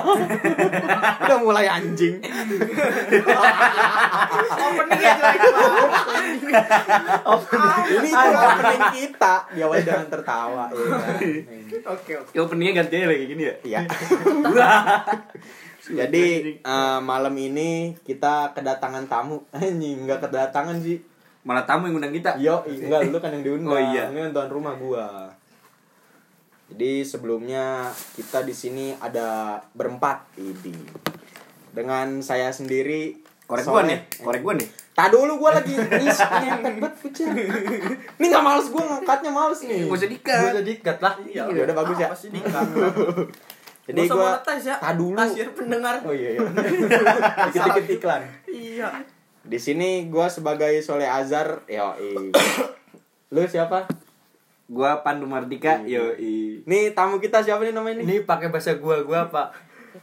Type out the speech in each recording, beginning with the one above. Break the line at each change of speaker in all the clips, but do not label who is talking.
Udah mulai anjing.
Opening ya jelek banget.
Ini itu opening kita diawali dengan tertawa. ya kan?
Oke oke.
Ya openingnya ganti aja lagi gini ya.
Iya.
Wah.
Jadi eh, malam ini kita kedatangan tamu. Anjing, enggak kedatangan sih.
malah tamu yang undang kita.
Yo, enggak lu kan yang diundang.
Oh, iya.
Ini tuan rumah gua. Jadi sebelumnya kita di sini ada berempat ini. Dengan saya sendiri
Korek gua
Soleh.
nih, korek gua nih.
Tak dulu gua lagi is ngangkat banget pucet. Ini enggak males gua ngangkatnya males nih.
Gak usah dikat.
Iya. Gua jadi dikat lah. Iya, udah bagus ya.
Apa sih nikah?
Jadi
Nggak usah
gua
monetis ya.
tak dulu.
Kasir pendengar.
Oh iya iya. Dikit-dikit iklan.
Iya.
Di sini gua sebagai Soleh Azhar, yo. Lu siapa?
Gua Pandu Mardika,
Iya.
yo i.
Nih tamu kita siapa nih namanya nih?
Ini pakai bahasa gua gua apa?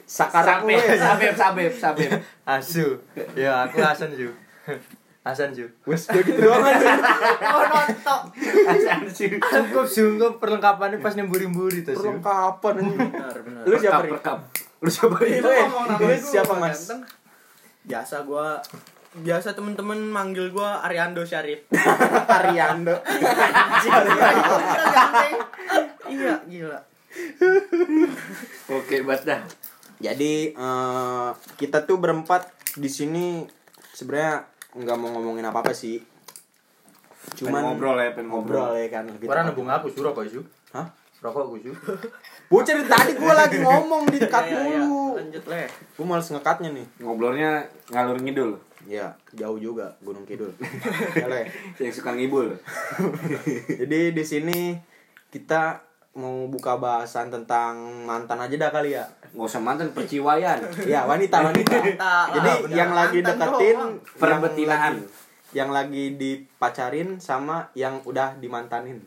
Sakarang
Sabep,
wes.
sabep, sabep, sabep.
Asu. Ya aku Hasan Ju. Hasan Ju.
Wes udah gitu doang aja.
Oh nonton.
Apaan sih?
Sunggup sunggup perlengkapannya pas nemburi-mburi tuh Ju.
Perlengkapan anjing.
Benar benar.
Lu siapa
Rekam,
nih?
rekam. Lu siapa
Itu,
nih?
Lu
eh,
ngomong nama
ini
gua,
siapa
gua
mas?
ganteng.
Biasa gua biasa temen-temen manggil gua Ariando Syarif.
Ariando.
Kita ganteng.
iya, gila.
Oke, buat dah.
Jadi eh, kita tuh berempat di sini sebenarnya nggak mau ngomongin apa apa sih. Cuman
Pengen ngobrol ya, pengen ngobrol.
ngobrol ya kan. Kita-
Gitu.
Orang nabung aku Ju rokok Ju.
Hah?
Rokok aku Ju.
Bocah dari tadi gue lagi ngomong di dekat
Iya, iya.
mulu.
Lanjut leh.
Gue males ngekatnya nih.
Ngobrolnya ngalur ngidul.
Ya jauh juga Gunung Kidul. Ya, Le.
Yang suka ngibul.
Jadi di sini kita mau buka bahasan tentang mantan aja dah kali ya.
Nggak usah mantan perciwayan.
Ya wanita wanita. Jadi
Ah, bener.
yang lagi
Mantan
deketin
doang.
yang
Perbetinaan.
lagi- yang lagi dipacarin sama yang udah dimantanin.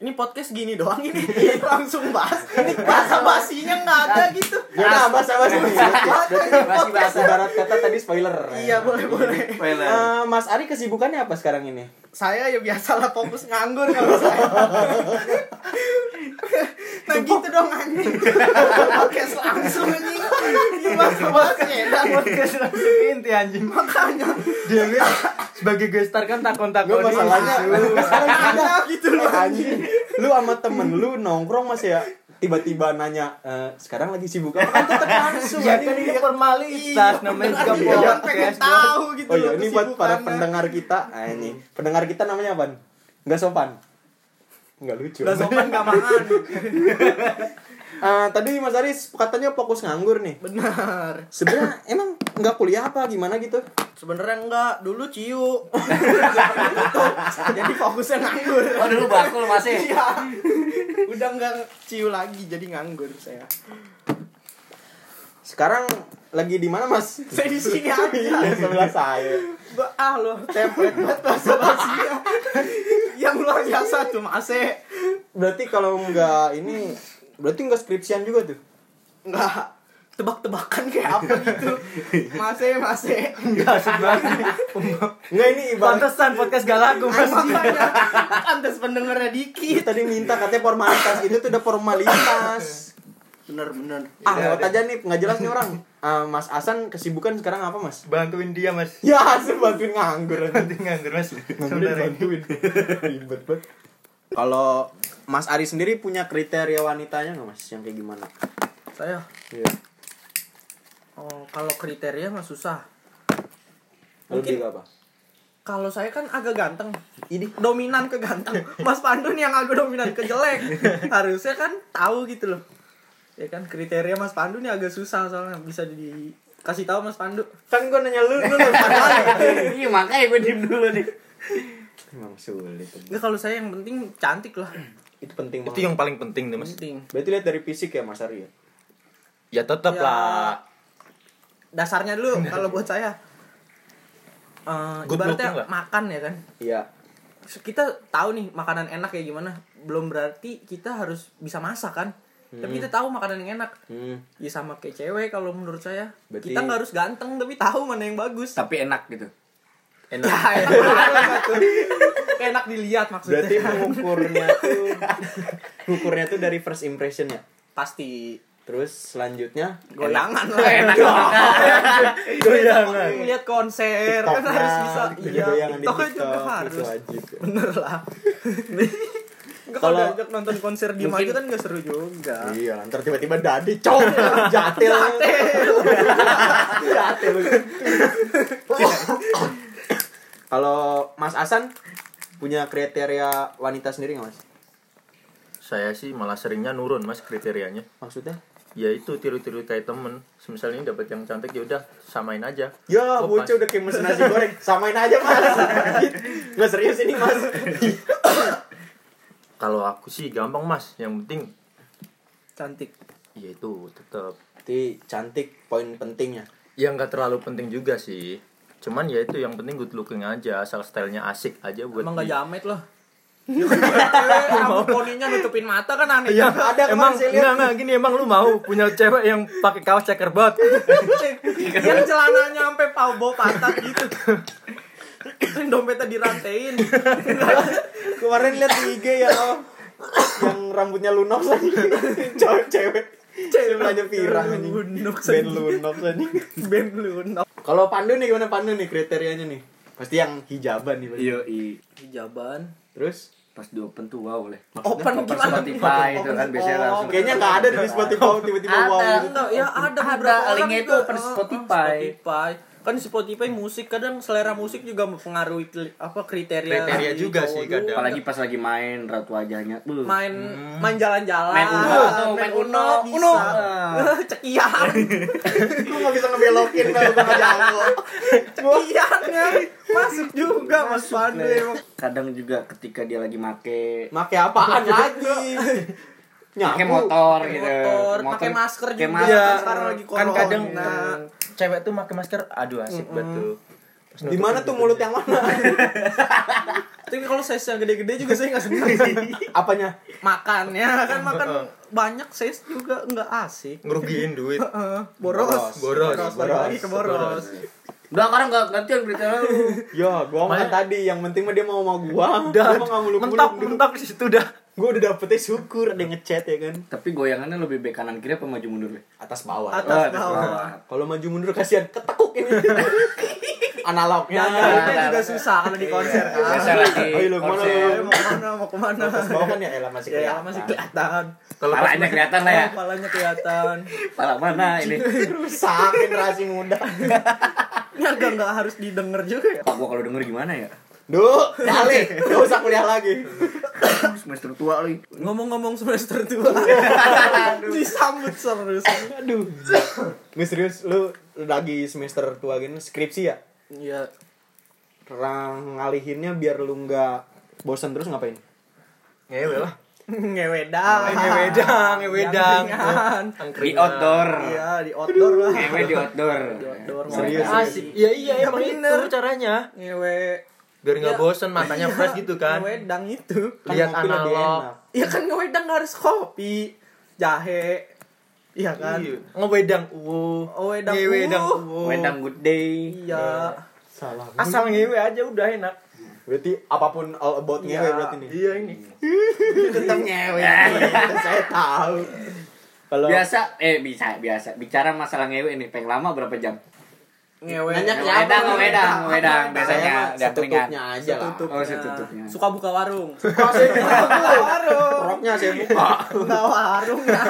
Ini podcast gini doang ini. Langsung bahas. Ini bahasa basinya nggak ada gitu.
Ya udah bahasa bahasa ini.
Basi, basi.
Ibarat kata tadi spoiler.
Iya, boleh boleh.
Spoiler.
Eh, Mas Ari kesibukannya apa sekarang ini?
Saya ya biasalah fokus nganggur kalau saya. nah gitu dong anjing. podcast langsung anjing. Iya, Gimana bahasnya? Dan
Podcast langsung inti anjing.
makanya
Dia ini sebagai gestar kan Iya.
Gue
takon-takon.
masalahnya, masalahnya ada
gitu
Eh, anjing. Lu sama temen lu nongkrong mas ya tiba-tiba nanya "Eh, sekarang lagi sibuk apa kan tetep langsung
Ya
anjing.
kan ini formalitas namanya juga
Iya, orang pengen
podcast. gua.
tahu gitu
Oh iya,
loh
ini buat para
kesibukannya.
pendengar kita. Ah, ini. Pendengar kita namanya apa? Enggak sopan. Enggak lucu.
Gak sopan gak makan
Ah, tadi Mas Aris katanya fokus nganggur nih.
Benar
Sebenarnya emang nggak kuliah apa gimana gitu?
Sebenernya enggak Dulu ciu Tuh, Jadi fokusnya nganggur
Oh, dulu bakul masih.
Iya Udah enggak ciu lagi Jadi nganggur saya
Sekarang lagi di mana Mas?
Saya di sini
Iya,
aja
sebelah saya.
Ba- Ah lo template banget bahasa basinya Yang luar biasa tuh E. mase
Berarti kalau nggak ini berarti nggak skripsian juga tuh.
Enggak Tebak-tebakan kayak apa gitu Mase mase
Enggak sebenarnya.
Nggak ini ibarat
Pantesan podcast gak laku Mas.
Ah, Makanya Pantes pendengarnya dikit
Dia tadi minta katanya formalitas itu tuh udah formalitas
Bener-bener
ah lewat aja nih nggak jelas nih orang Ah, mas Asan kesibukan sekarang apa mas
Bantuin dia Mas.
ya Asan bantuin nganggur
Bantuin nganggur Mas. Saudara ini.
ribet banget kalau Mas Ari sendiri punya kriteria wanitanya nggak mas yang kayak gimana
Saya
Iya.
Oh, kalau kriteria mah susah.
lebih
Mungkin-
ke apa
Kalau saya kan agak ganteng.
ini
Dominan ke ganteng. Mas Pandu nih yang agak dominan ke jelek. Harusnya kan tahu gitu loh. Ya kan kriteria Mas Pandu nih agak susah soalnya bisa dikasih tahu Mas Pandu.
kan gue nanya lu dulu
Iya, makanya gue diem dulu nih.
emang sulit
Enggak Ya kalau saya yang penting cantik lah.
itu penting
Itu
banget
yang paling penting tuh Mas.
Penting.
berarti lihat dari fisik ya Mas Ari ya
Ya tetap
Ya.
lah.
Dasarnya dulu kalau buat saya Eh,
Good looking
ibaratnya
lah.
makan ya kan.
iya
kita tahu nih makanan enak kayak gimana belum berarti kita harus bisa masak kan
Hmm.
tapi kita tahu makanan yang enak
hmm.
ya sama kayak cewek kalau menurut saya
Berarti-
kita nggak harus ganteng tapi tahu mana yang bagus
Tapi enak gitu.
ya,
Enak.
enak, banget satu. enak dilihat maksudnya
berarti mengukurnya tuh ukurnya tuh dari first impression ya
pasti
Terus selanjutnya
goyangan lah enak
Goyangan.
lihat konser kan
TikToknya,
harus bisa
bikin
iya
goyangan gitu di
TikTok
TikTok,
itu
gitu
udah
itu
harus
wajib.
bener lah Enggak kalau
Kalau-
diajak nonton konser di maju kan gak seru juga Ya,
Iya, ntar tiba-tiba dadi cong jatil. Jatil. Kalau Mas Asan punya kriteria wanita sendiri nggak Mas?
Saya sih malah seringnya nurun mas kriterianya.
Maksudnya?
Ya itu tiru-tiru kayak temen. Misalnya ini dapat yang cantik ya udah samain aja.
Ya,
Oh,
bocah
pas.
udah kayak mesin nasi goreng. Samain aja, Mas. Nggak serius ini, Mas.
Kalau aku sih gampang mas. Yang penting
cantik
ya itu tetap.
Jadi cantik poin pentingnya.
Ya nggak terlalu penting juga sih. Cuman ya itu yang penting good looking aja. Asal stylenya asik aja buat.
emang gak
di-
jamet loh Kamu poninya nutupin mata kan aneh
Iya,
juga.
Ada
emang
kemarin saya lihat.
enggak enggak gini emang lu mau punya cewek yang pakai kaos checkerboard.
Yang celananya sampai paubo pantat gitu Yang dompetnya dirantein
Kemarin lihat di IG ya, Om. yang rambutnya lunox lagi. Cowok cewek. Sebelahnya pirang anjing.
Lunok
Ben
sendiri.
lunox anjing.
Ben lunok
Kalau Pandu nih gimana Pandu nih kriterianya nih? Pasti yang hijaban nih. berarti.
Iya, i.
Hijaban
Terus
Pas di open tuh wow leh.
Open Oh,
Open
gimana?
Spotify itu kan biasanya langsung.
kayaknya nggak ada di Spotify tiba-tiba
Ada.
wow gitu.
Enggak, ya ada
Ada,
beberapa orang
linknya itu
juga.
open
Oh, oh,
Spotify.
Spotify. Kan di Spotify musik kadang selera musik juga mempengaruhi kli- apa kriteria dari
Kriteria juga
cowok
sih
juga.
kadang.
Apalagi pas lagi main ratu wajahnya. Uh.
main main jalan-jalan
Main Uno, tuh, main Uno, Uno.
bisa cekian
Lu nggak bisa ngebelokin kalau gua nggak jago.
cekiannya Iya, masuk juga mas Pandu
Leh.
emang.
Kadang juga ketika dia lagi make
Make apaan lagi?
pakai motor
Pakai
gitu.
motor, pakai masker
pakai
juga.
masker.
Iya. Sekarang lagi
kan
corona.
kadang eh, cewek tuh pakai masker aduh asik banget tuh. Pas
Di mana tuh mulut yang mana?
tapi kalau size yang gede-gede juga saya nggak senang sih.
Apanya?
makannya kan makan banyak size juga nggak asik
ngerugiin duit.
Heeh, boros
Boros.
balik
Boros.
lagi ke boros
Udah sekarang enggak gantian beritanya lu.
Ya, gua makan
Mana-
tadi. Yang penting mah dia mau sama gua. Udah,
Udah,
gua nggak muluk-muluk
mentok,
dulu.
mentok di situ dah.
gitu. Gua udah dapetnya syukur ada yang ngechat ya kan.
Tapi goyangannya lebih bek kanan kiri apa maju mundur leh?
Atas bawah.
Atas
Oh,
bawah.
Kalau maju mundur kasihan ketekuk ini.
Ya,
Analognya.
Nyadarinnya
Nah,
juga
nah,
susah kalau di konser
Biasa
kan.
lagi.
Ayo, lu kemana lu?
Eh, mau kemana, mau kemana.
Atas bawah kan ya elah masih
Ya,
kelihatan.
masih kelihatan.
Kalau pas
Palanya kelihatan lah ya.
Kepalanya kelihatan.
Pala mana ini?
Rusak generasi muda.
Ini agak nggak harus didengar juga ya.
Pak gua kalau denger gimana ya?
Duh, kali. Gak usah kuliah lagi.
Semester tua lu.
Ngomong-ngomong semester tua. Disambut serius.
Aduh. Gue serius, lu lu lagi semester tua gini skripsi ya?
Iya.
Rang ngalihinnya biar lu nggak bosan terus ngapain?
ngewe lah.
Ngewedang.
Ngewedang, ngewedang.
Angkringan.
Di outdoor.
Iya, di outdoor lah.
Ngewe di outdoor.
Di outdoor.
Serius.
ngewedang.
Asik. Ya iya emang
bener.
itu caranya.
Ngewe.
Biar nggak
Iya.
Ya.
bosen matanya fresh gitu kan.
Ngewedang itu.
Kan
Lihat
ngopi lebih
analog.
enak.
Ya kan ngewedang nggak harus kopi, jahe. Iya kan?
Iya. Ngewedang uwu.
Ngewedang
Ngewedang uh.
uwu.
uwu.
Wedang good day.
Iya.
Salah.
Asal ngewe aja udah enak.
Berarti apapun all about ngewe
Iya.
berarti nih.
Iya ini.
Tetap ngewe. Saya tahu. Kalau
Biasa eh bisa biasa bicara masalah ngewe ini peng lama berapa jam?
Ngewe.
Nanya
Ngewe-
kenapa?
Wedang, wedang, wedang
saya mah
biasanya udah keringan.
setutupnya aja lah.
Tutup.
Oh, setutupnya.
Suka buka warung.
Kok saya buka
warung.
Roknya saya buka.
Buka warung ya.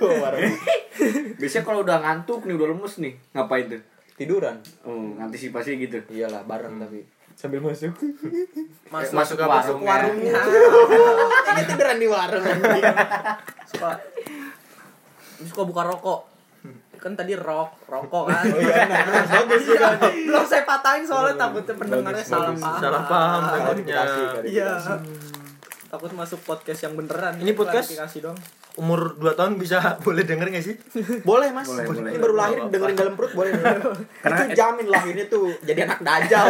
Tuh, warung.
Biasanya kalau udah ngantuk nih udah lemes nih ngapain tuh?
Tiduran.
Oh, antisipasi gitu.
Iyalah, bareng tapi sambil masuk.
Masuk,
Masuk
ke
warung.
ke warungnya.
Ini tiduran di warung.
Suka suka buka rokok. Kan tadi rok, rokok kan.
Bagus
Iya, Belum saya patahin soalnya takutnya pendengarnya salah
bagus.
paham.
Salah paham takutnya.
Klarifikasi, klarifikasi.
Iya. Takut masuk podcast yang beneran.
Ini podcast?
Klarifikasi dong.
Umur 2 tahun bisa boleh denger gak sih?
Boleh mas,
Boleh, boleh.
ini baru lahir
Gak apa-apa.
dengerin dalam perut boleh.
Karena-
itu jamin lahirnya tuh jadi anak dajal.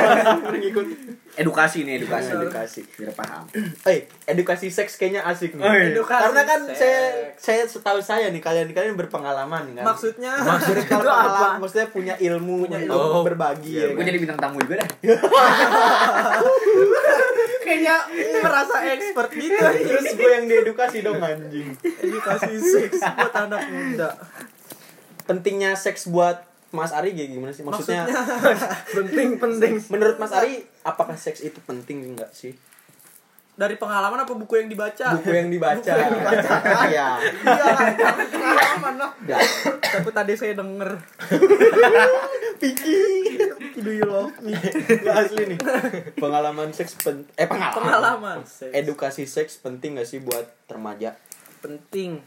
Ngikut.
Edukasi nih,
Iya.
edukasi.
edukasi.
Biar paham.
Eh, edukasi seks kayaknya asik nih.
Oh, iya.
Edukasi
Karena kan
seks.
saya saya setahu saya nih kalian kalian berpengalaman kan.
Maksudnya
Maksudnya
itu
berpengalaman, Maksudnya punya ilmu
Punya
untuk
ilmu.
berbagi kan?
Iya,
ya
Gue
kan?
jadi bintang tamu juga dah.
kayaknya merasa expert gitu
Terus gue yang diedukasi dong anjing.
edukasi seks buat anak muda
Pentingnya seks buat Mas Ari kayak gimana sih? Maksudnya,
penting penting
menurut Mas Ari apakah seks itu penting enggak sih?
dari pengalaman apa buku yang dibaca
Buku yang dibaca.
Buku yang dibaca.
Iya.
iya lah jangan pengalaman lah
Dan
tapi tadi saya denger Piki do you love me
Nggak asli nih. Pengalaman seks pen eh pengalaman.
pengalaman seks.
Edukasi seks penting gak sih buat remaja?
penting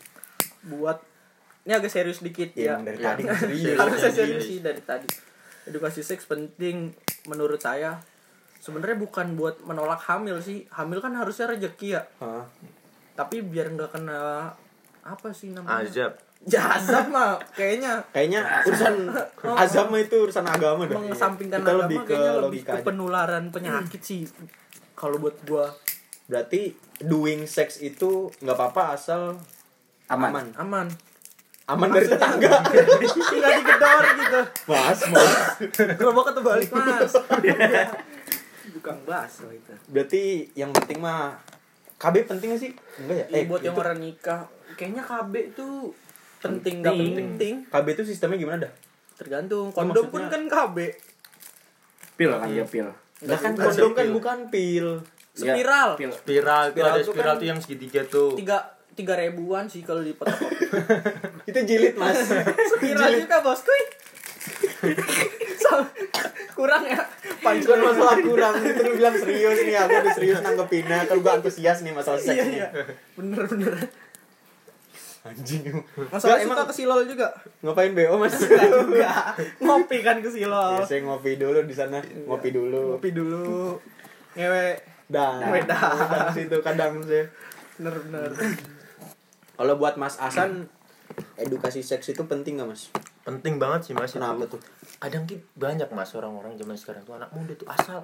buat ini agak serius dikit
Ya,
ya,
yang dari
Iya.
tadi serius.
harusnya serius
serius.
sih dari tadi edukasi seks penting menurut saya sebenarnya bukan buat menolak hamil sih hamil kan harusnya rezeki ya
Hah?
tapi biar nggak kena apa sih namanya
Azab.
jazab mah kayaknya
Kayaknya urusan azab mah itu urusan agama dah.
mengesampingkan
Kita
agama
lebih ke
kayaknya lebih
logika
ke
aja.
penularan penyakit sih kalau buat gua
Berarti doing sex itu nggak apa-apa asal
Aman.
aman.
aman
Aman dari tetangga.
tinggal digedor gitu
Mas, mas.
gerobak atau balik mas bukan baso itu
Berarti yang penting mah KB penting gak sih? Enggak ya?
eh, buat yang
itu-
orang nikah kayaknya KB itu penting nggak
Penting.
penting.
KB itu sistemnya gimana dah? Ya,
tergantung kondom pun
maksudnya-
kan KB
Pil kan dia pil.
Nah,
Lah kan
juga sih,
kondom kan
pil.
bukan pil.
Iya,
Spiral.
pil.
Spiral, tuh
Spiral
ada
tuh
spiral
kan-
tuh yang segitiga tuh.
tiga tiga ribuan sih kalau di peta
Itu jilid, Mas.
Kira juga bosku So- kurang ya
Bukan masalah kurang, itu lu bilang serius nih, aku udah serius nanggepinnya Kalau gua antusias nih masalah seks
iya
nih
iya bener bener
Anjing
masalah
Nggak,
suka
emang
ke silol juga
ngapain BO, Mas?
Iya. juga ngopi kan ke silol
Ya, saya ngopi dulu di sana, ngopi dulu.
Iya. ngopi dulu ngewe
Dan,
Ngewe dah.
Kadang situ kadang saya.
bener bener
Kalau buat Mas Asan, edukasi seks itu penting gak Mas?
Penting banget sih Mas itu.
Kenapa tuh?
Kadang ki- banyak Mas orang-orang zaman sekarang tuh anak muda tuh asal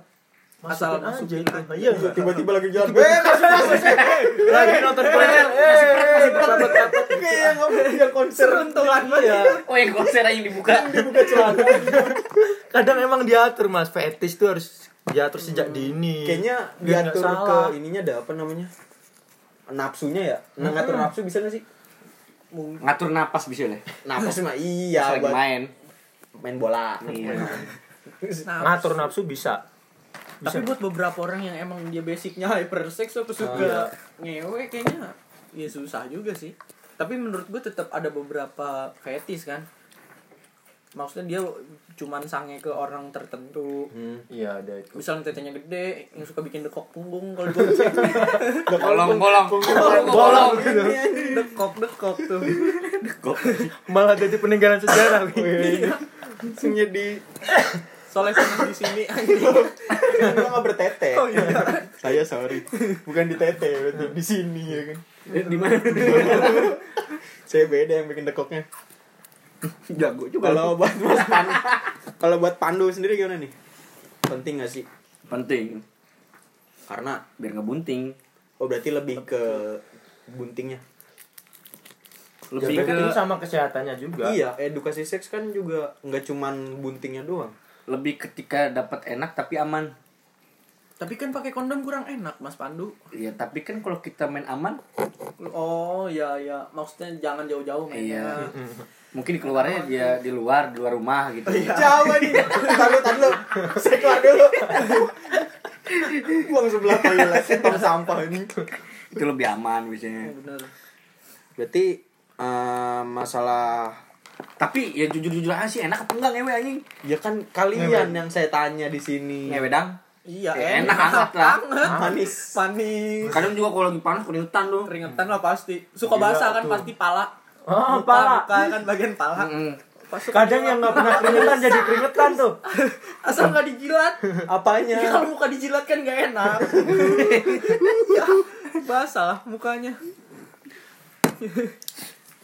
Asal
masukin aja
masukin
itu.
aja.
Iya nggak?
Tiba-tiba lagi jalan, "Eh, masuk, masuk, eh, eh."
Lagi nonton konser.
Kayak ngobrol di konser
seruntulan banget
Oh yang konser aja yang dibuka.
dibuka celana.
Kadang emang diatur Mas, fetis tuh harus diatur sejak dini.
Kayaknya
Iya. Biar nggak
diatur ke
salah.
ininya ada apa namanya? Nafsunya ya? Nah, ngatur nafsu bisa gak sih?
mungkin
Ngatur napas bisa deh.
Nafsu mah Nah,
Pas
iya
lagi
buat
main.
main bola. Nah,
Iya.
ngatur nafsu bisa. Bisa.
tapi buat beberapa orang yang emang dia basicnya hypersex
Ah,
atau suka ngewe kayaknya ya susah juga sih tapi menurut gue tetap ada beberapa fetis kan maksudnya dia cuman sange ke orang tertentu
Hmm.
Iya, ada itu.
misalnya tetenya gede yang suka bikin dekok punggung kalau gue
Bolong-bolong.
bolong
Bolong-bolong.
Oh,
dekok dekok tuh
Malah jadi peninggalan sejarah. Wi.
Nafsunya di
soalnya saya di sini
Gua nggak bertete.
oh iya
Saya sorry. Bukan di tete, berarti di sini ya kan.
Di mana?
Saya beda yang bikin dekoknya.
Jago juga.
Kalau buat Mas Pandu, kalau buat Pandu sendiri gimana nih? Penting gak sih?
Penting.
Karena
Biar nggak bunting.
oh berarti lebih ke buntingnya.
Tapi
Ya,
Lebih ke
kan itu sama kesehatannya juga.
Iya, edukasi seks kan juga nggak cuman buntingnya doang.
lebih ketika dapat enak tapi aman.
tapi kan pakai kondom kurang enak mas Pandu
Iya, tapi kan kalau kita main aman,
oh iya iya maksudnya jangan jauh-jauh mainnya
Iya. mungkin keluarnya dia di luar, di luar rumah gitu.
Jauh nih. Entar lu, entar lu. Saya keluar dulu. Buang sebelah toilet, tong sampah ini.
Itu lebih aman biasanya.
bener
Berarti eh, masalah
Tapi ya jujur-jujur aja sih enak apa enggak ngewe anjing?
ya kan kalian yang saya tanya di sini.
Ngewe dang.
Iya,
Ya, enak banget lah.
Manis.
Panik.
Kadang juga kalau lagi panas keringetan tuh.
Keringetan lah pasti. Suka basah kan pasti pala.
Oh,
Muka-
pala.
Muka kan bagian pala.
Mm-mm.
Pas suka
Kadang yang nggak pernah keringetan jadi keringetan tuh. Kan-
asal nggak dijilat. Ya,
Apanya?
kalau muka dijilat kan nggak enak. ya, basah lah mukanya.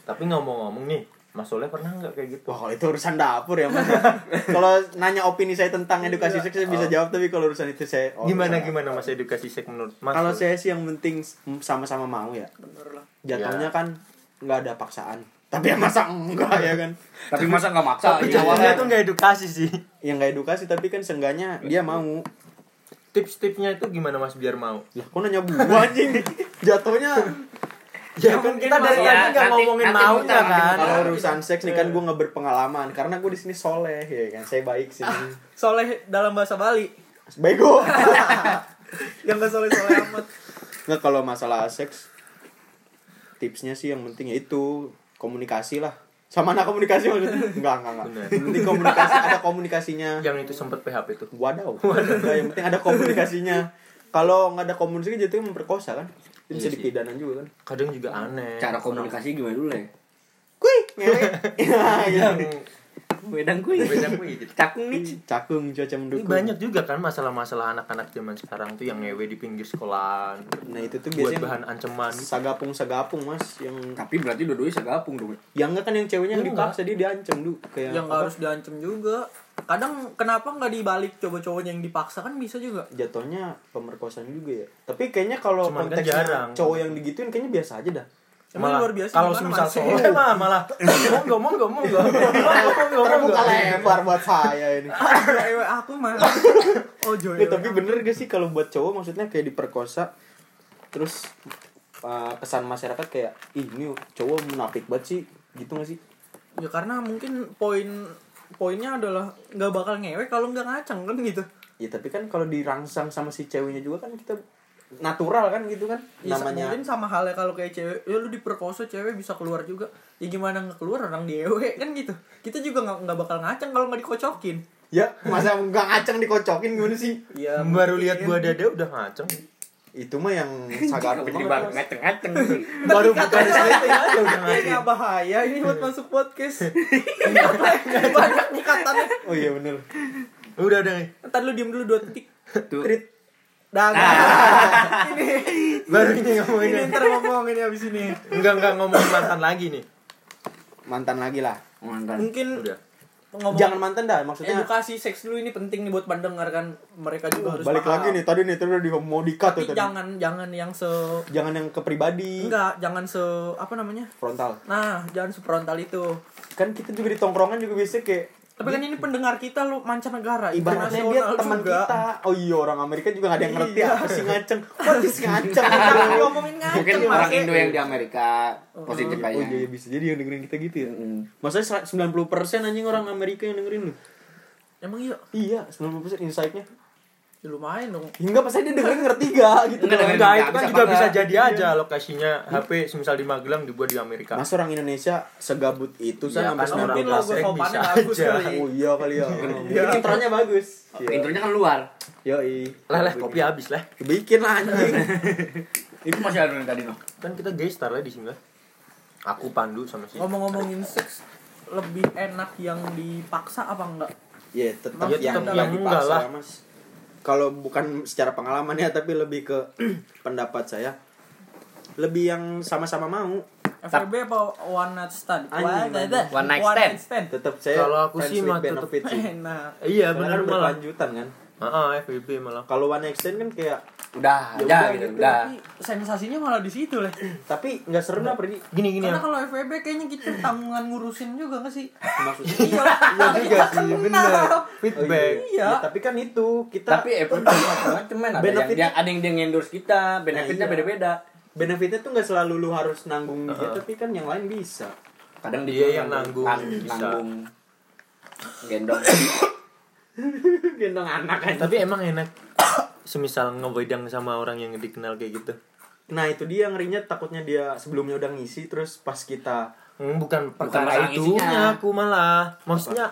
Tapi ngomong-ngomong nih, Mas Soleh pernah nggak kayak gitu?
Wah, kalau itu urusan dapur ya, Mas. kalau nanya opini saya tentang edukasi seks saya bisa jawab, tapi kalau urusan itu saya oh,
gimana
saya-
gimana Mas edukasi seks menurut Mas?
Kalau
Soleh?
saya sih yang penting sama-sama mau ya.
Bener lah.
Jatuhnya
Ya.
kan nggak ada paksaan. Tapi ya masa enggak ya kan?
Tapi masa enggak maksa
tapi
iya.
Ya,
jawabnya tuh nggak edukasi sih.
yang nggak edukasi tapi kan seenggaknya dia mau
tips-tipsnya itu gimana Mas biar mau?
Lah, kok nanya gua anjing? Jatuhnya kan
Ya, mungkin
kita dari
masalah-
tadi nggak
nanti-
ngomongin
nanti
maunya
muter,
kan.
nanti muter.
Kalau urusan seks nih kan gue nggak berpengalaman karena gue di sini soleh ya kan. Saya baik sih.
Soleh dalam bahasa Bali.
Bego.
Yang gak soleh-soleh amat.
Nggak kalau masalah seks tipsnya sih yang penting ya itu komunikasi lah. Sama anak komunikasi maksudnya? Enggak, enggak, enggak.
Bener.
Yang penting komunikasi ada komunikasinya.
Yang itu sempet PHP itu.
Wadaw. Enggak, yang penting ada komunikasinya. Kalau nggak ada komunikasi jatuhnya memperkosa kan. Itu bisa
Iya sih.
dipidana juga kan.
Kadang juga aneh.
Cara komunikasi gimana dulu ya?
Kuy, ngewe. Iya, gitu.
Wedang kui.
Wedang kui, gitu.
Cakung nih.
Cakung cuaca
Ini
mendukung.
banyak juga kan masalah-masalah anak-anak zaman sekarang tuh yang ngewe di pinggir sekolahan.
Nah, itu tuh
buat
biasanya
bahan gitu. ancaman.
sagapung sagapung mas yang
Tapi berarti dua-duanya segapung dong.
yang enggak kan yang ceweknya yang
Enggak.
dipaksa dia diancam dulu kayak
Ya,
yang
apa,
nggak harus diancem juga. Kadang kenapa nggak dibalik coba cowoknya yang dipaksa kan bisa juga.
jatuhnya pemerkosaan juga ya tapi kayaknya kalau
Cuman kan
konteksnya
jarang.
cowok yang digituin kayaknya biasa aja dah
Emang
Malah,
luar biasa
Kalau
gimana,
semisal
Mas?
soleh mah malah monggo monggo monggo. Monggo monggo
terbuka
monggo.
lebar buat saya ini
Aduh, ewe aku mah. Oh, joy.
Nggak, Iya,
Ya,
tapi bener gak sih kalau buat cowok maksudnya kayak diperkosa terus uh, kesan masyarakat kayak Ih, ini cowok munafik banget sih gitu gak sih
Ya karena mungkin poin poinnya adalah nggak bakal ngewe kalau nggak ngaceng kan gitu.
ya tapi kan kalau dirangsang sama si ceweknya juga kan kita natural kan gitu kan
Ya,
namanya
mungkin sama halnya kalau kayak cewek, ya lu diperkosa cewek bisa keluar juga. Ya gimana nggak keluar orang di ewe kan gitu. Kita juga nggak nggak bakal ngaceng kalau nggak dikocokin.
ya masa nggak ngaceng dikocokin gimana sih
Ya,
Baru
mungkin.
lihat gua dada udah ngaceng.
itu mah yang sagar
Cakung di bar ngaceng-ngaceng.
baru bukan
Tapi
Udah ngaceng.
Kayaknya bahaya ini buat masuk podcast. Banyak nih katanya.
oh iya bener
Udah udah.
Ntar lu diem dulu dua titik.
Tuh.
Dah. dah. ini
Baru ini ngomongin.
ini ntar ngomongin abis ini.
Enggak enggak ngomongin mantan lagi nih.
mantan lagi lah
Mantan.
Mungkin
Udah.
ngomong
jangan mantan dah maksudnya
edukasi seks dulu ini penting nih buat pendengar kan mereka juga harus
Hmm, balik
paham.
lagi nih tadi nih tadi udah di mau dikat tuh
Tapi
tadi
jangan jangan yang se
jangan yang ke pribadi
enggak jangan se apa namanya?
frontal
Nah, jangan seprontal itu.
kan kita juga di tongkrongan juga biasanya kayak
Tapi kan ini pendengar kita lu mancanegara,
Gitu. ibaratnya dia
internasional
teman
juga.
kita oh iya orang Amerika juga gak ada yang ngerti
Iya.
apa sih ngaceng what is ngaceng
Jangan ngomongin ngaceng.
Mungkin orang
Mas.
Indo yang di Amerika positif
oh iya
aja.
iya, bisa jadi yang dengerin kita gitu ya maksudnya 90% anjing orang Amerika yang dengerin lu
Emang iya,
iya 90% insight-nya
ya lumayan dong.
hingga pas dia dengerin ngerti gak gitu loh.
Enggak, dengerin.
Enggak, itu
Bisa
kan
apa
juga
enggak?
bisa jadi aja lokasinya HP semisal di Magelang dibuat di Amerika.
iya. Mas orang Indonesia segabut itu
Iya,
kan sampai
kan
sembilan
orang
Mungkin
belas
logo
ya.
plastik
sopannya
bisa
bagus
aja.
kali.
Oh iya kali ya.
Iya.
Mungkin intronya bagus. Iya.
Intronya kan luar.
Yoi.
Lah lah kopi habis lah.
Bikin lah anjing.
Itu masih ada yang tadi noh.
Kan kita gay star lah di sini lah. Aku Pandu
Oh,
sama si
Ngomong-ngomongin seks lebih enak yang dipaksa apa enggak?
Ya tetap
Ya,
yang
tetap
yang
yang enggak
dipaksa
lah.
Mas. Kalau bukan secara pengalaman ya tapi lebih ke pendapat saya lebih yang sama-sama mau.
FWB apa one night stand?
Anjing, anjing.
One night stand.
Tetap saya
Kalau aku
friends
sih
with
mah tetap-
benefit sih.
Enak.
Iya
Karena
benar
kan
malah.
berlanjutan kan.
Heeh, FBB malah.
Kalau one night stand kan kayak
Udah,
Ya
udah
udah
gitu,
gitu.
udah.
Tapi Iya, sensasinya malah di situ lah.
tapi nggak serem lah pergi
Gini gini.
Karena
ya.
kalau FWB kayaknya kita tanggungan ngurusin juga nggak sih?
maksudnya.
Iya, iya Oh,
juga sih, bener.
Feedback.
Oh, iya. Ya, tapi kan itu kita
Tapi Apple tuh macam-macam men. Ada yang,
Benefit-
yang- ada yang dia endorse kita, benefitnya
Nah, iya.
beda-beda.
benefitnya tuh nggak selalu lu harus nanggung dia
Uh-huh.
tapi kan yang lain bisa.
Kadang
Dia yang nanggung,
nang-
bisa.
nanggung gendong.
Gendong anak aja.
Tapi emang enak semisal ngewedang sama orang yang dikenal kayak gitu.
Nah itu dia ngerinya takutnya dia sebelumnya udah ngisi terus pas kita
Hmm, bukan perkara
masalah isinya.
itunya aku malah. Maksudnya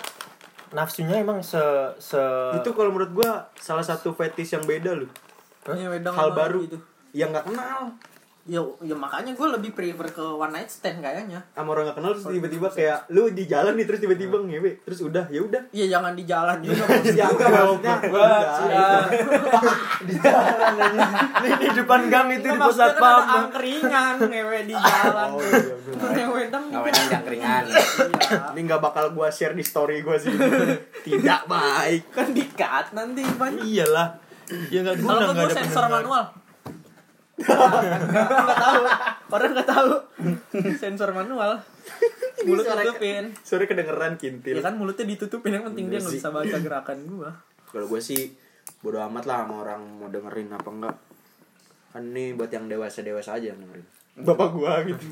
nafsunya emang se se
itu kalau menurut gua salah satu fetish yang beda loh
Iya, wedang
hal
sama
baru
gitu.
yang nggak kenal
Ya, ya makanya gue lebih prefer ke one night stand kayaknya.
sama orang nggak kenal terus tiba-tiba kayak lu di jalan nih terus tiba-tiba ngewe terus udah ya udah
Iya jangan di jalan juga. Iya.
ya enggak maksudnya udah
Ini di depan gang itu
Itu
di
maksudnya
pusat
kan ada
pam.
angkringan ngewe di jalan.
Oh, iya, bener.
Ngewe dang.
Ngawetan jangkringan.
Iya.
ini nggak bakal gua share di story gua sih tidak baik
Kan dikat nanti banyak.
Iyalah. Ya enggak
Kalau
guna
nggak
enggak
gue
ada
sensor
pendengar.
manual. Enggak tahu. Orang nggak tahu. Sensor manual. Mulut
suara-
tutupin. kan
sore
Iya.
kedengeran kintil
Ya kan mulutnya ditutupin yang penting dia nggak
Sih.
bisa baca gerakan gua.
kalau gua sih bodo amat lah sama orang mau dengerin apa enggak kan ini buat yang dewasa dewasa aja yang dengerin bapak gua gitu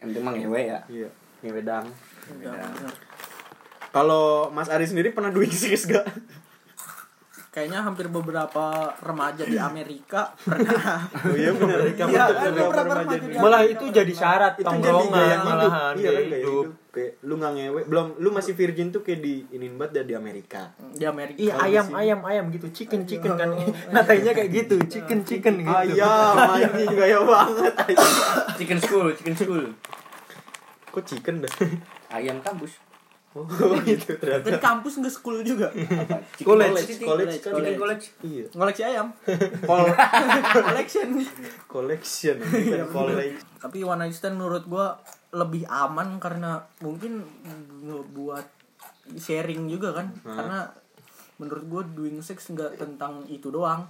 Yang penting mah ngewe ya.
iya ngewedang
Iya.
kalau Mas Ari sendiri pernah doing series gak?
Kayaknya hampir beberapa remaja di Amerika pernah.
Oh iya benar. Iya,
Iya, kan,
beberapa
beberapa
remaja
remaja
di
di-
Malah itu jadi syarat
itu jadi gaya
tongkrongan
hidup. Iya
malahan gitu.
kan
gaya
gaya
hidup.
hidup. Kayak lu nggak ngewe, belum lu masih virgin tuh kayak di iniin banget dia di Amerika.
di Amerika.
Iya ayam ayam ayam gitu chicken chicken kan natainya kayak gitu chicken chicken gitu.
Ayam, Ah, iya,
Iya.
anjing gaya banget.
Chicken school, chicken school.
Kok chicken dah?
Ayam kampus.
Oh gitu
Di
ternyata.
kampus nggak school juga.
Apa? Chicken
College, college,
Chicken college,
college.
Chicken college.
Iya.
Ngoleksi ayam.
Col
Collection.
collection, bukan
Iya,
college.
Tapi one night stand menurut gua lebih aman karena mungkin ngebuat sharing juga kan.
Hmm.
Karena menurut gua doing sex nggak tentang itu doang.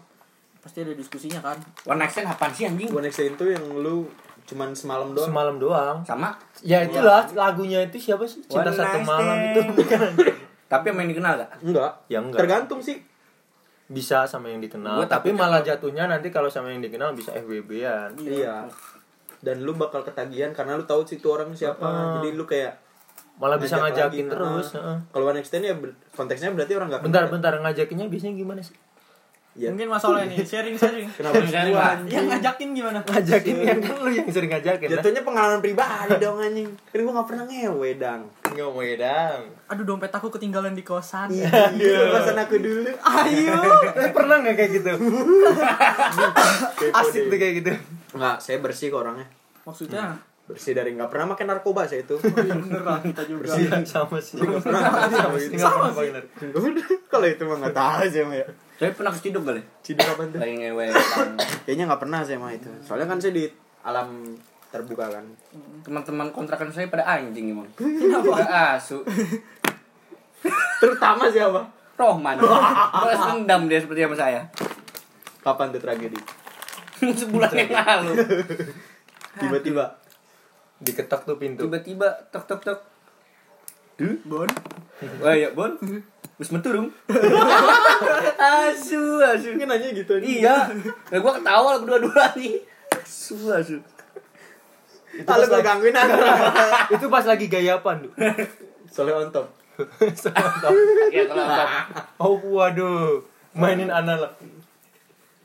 Pasti ada diskusinya kan.
One night stand apaan sih anjing?
One Night Stand tuh yang lu cuman semalam doang.
Semalam doang.
Sama.
Ya itulah lagunya itu siapa sih cinta
One
satu
night
malam
stand.
itu bukan.
Tapi yang main dikenal gak?
Enggak.
Ya enggak.
Tergantung sih.
Bisa sama yang
Gua
dikenal.
takutnya
tapi malah jatuhnya nanti kalau sama yang dikenal bisa FWB-an.
Iya. Dan lu bakal ketagihan karena lu tahu situ orang siapa.
Heeh.
Jadi lu kayak
Malah bisa
ngajak lagi, nah.
ngajakin terus.
heeh.
heeh.
Kalau one extend ya ber- konteksnya berarti orang nggak kenal.
Bentar-bentar ngajakinnya biasanya gimana sih? Iya.
Ya.
Mungkin masalahnya nih sharing-sharing.
Kenapa
Bukan
gua?
gua.
Yang ngajakin gimana?
Ngajakin yang kan lu yang sering ngajakin. Jatuh.
Jatuhnya pengalaman pribadi dong anjing. Kan gua nggak pernah ngewe dang.
Ngomongin dang.
Aduh dompet aku ketinggalan di kosan.
Iya. Pesan aku dulu.
Ayo.
Pernah nggak kayak gitu? Asik tuh kayak gitu.
Enggak, saya bersih kok orangnya.
Maksudnya
Bersih dari nggak pernah makan narkoba saya itu.
beneran kita juga.
Iya, sama sih. Sama sih. Nggak pernah pakai
Udah, Kalau itu mah nggak tahu aja mah ya.
Tapi pernah keciduk kali?
Ciduk apa tuh?
Lagi kan. ngewe. bareng
Kayaknya nggak pernah saya mah itu. Soalnya kan saya di alam terbuka kan.
Teman-teman kontrakan saya pada anjing emang. Kenapa? asu.
Terutama siapa?
Rohman. Balas dendam dia seperti sama saya.
Kapan tuh tragedi?
Sebulan yang lalu.
Tiba-tiba
Diketok tuh pintu.
Tiba-tiba tok tok tok.
Bon.
Wah ya bon. Terus menturung. asu asu.
mungkin nanya gitu anjing.
Iya. Nah, gua ketawa lah berdua-dua nih. Asu asu.
Itu Kalau gue gangguin aku.
Itu pas lagi gayapan tuh.
Soalnya on top.
Ya kalau
Oh waduh, mainin analog,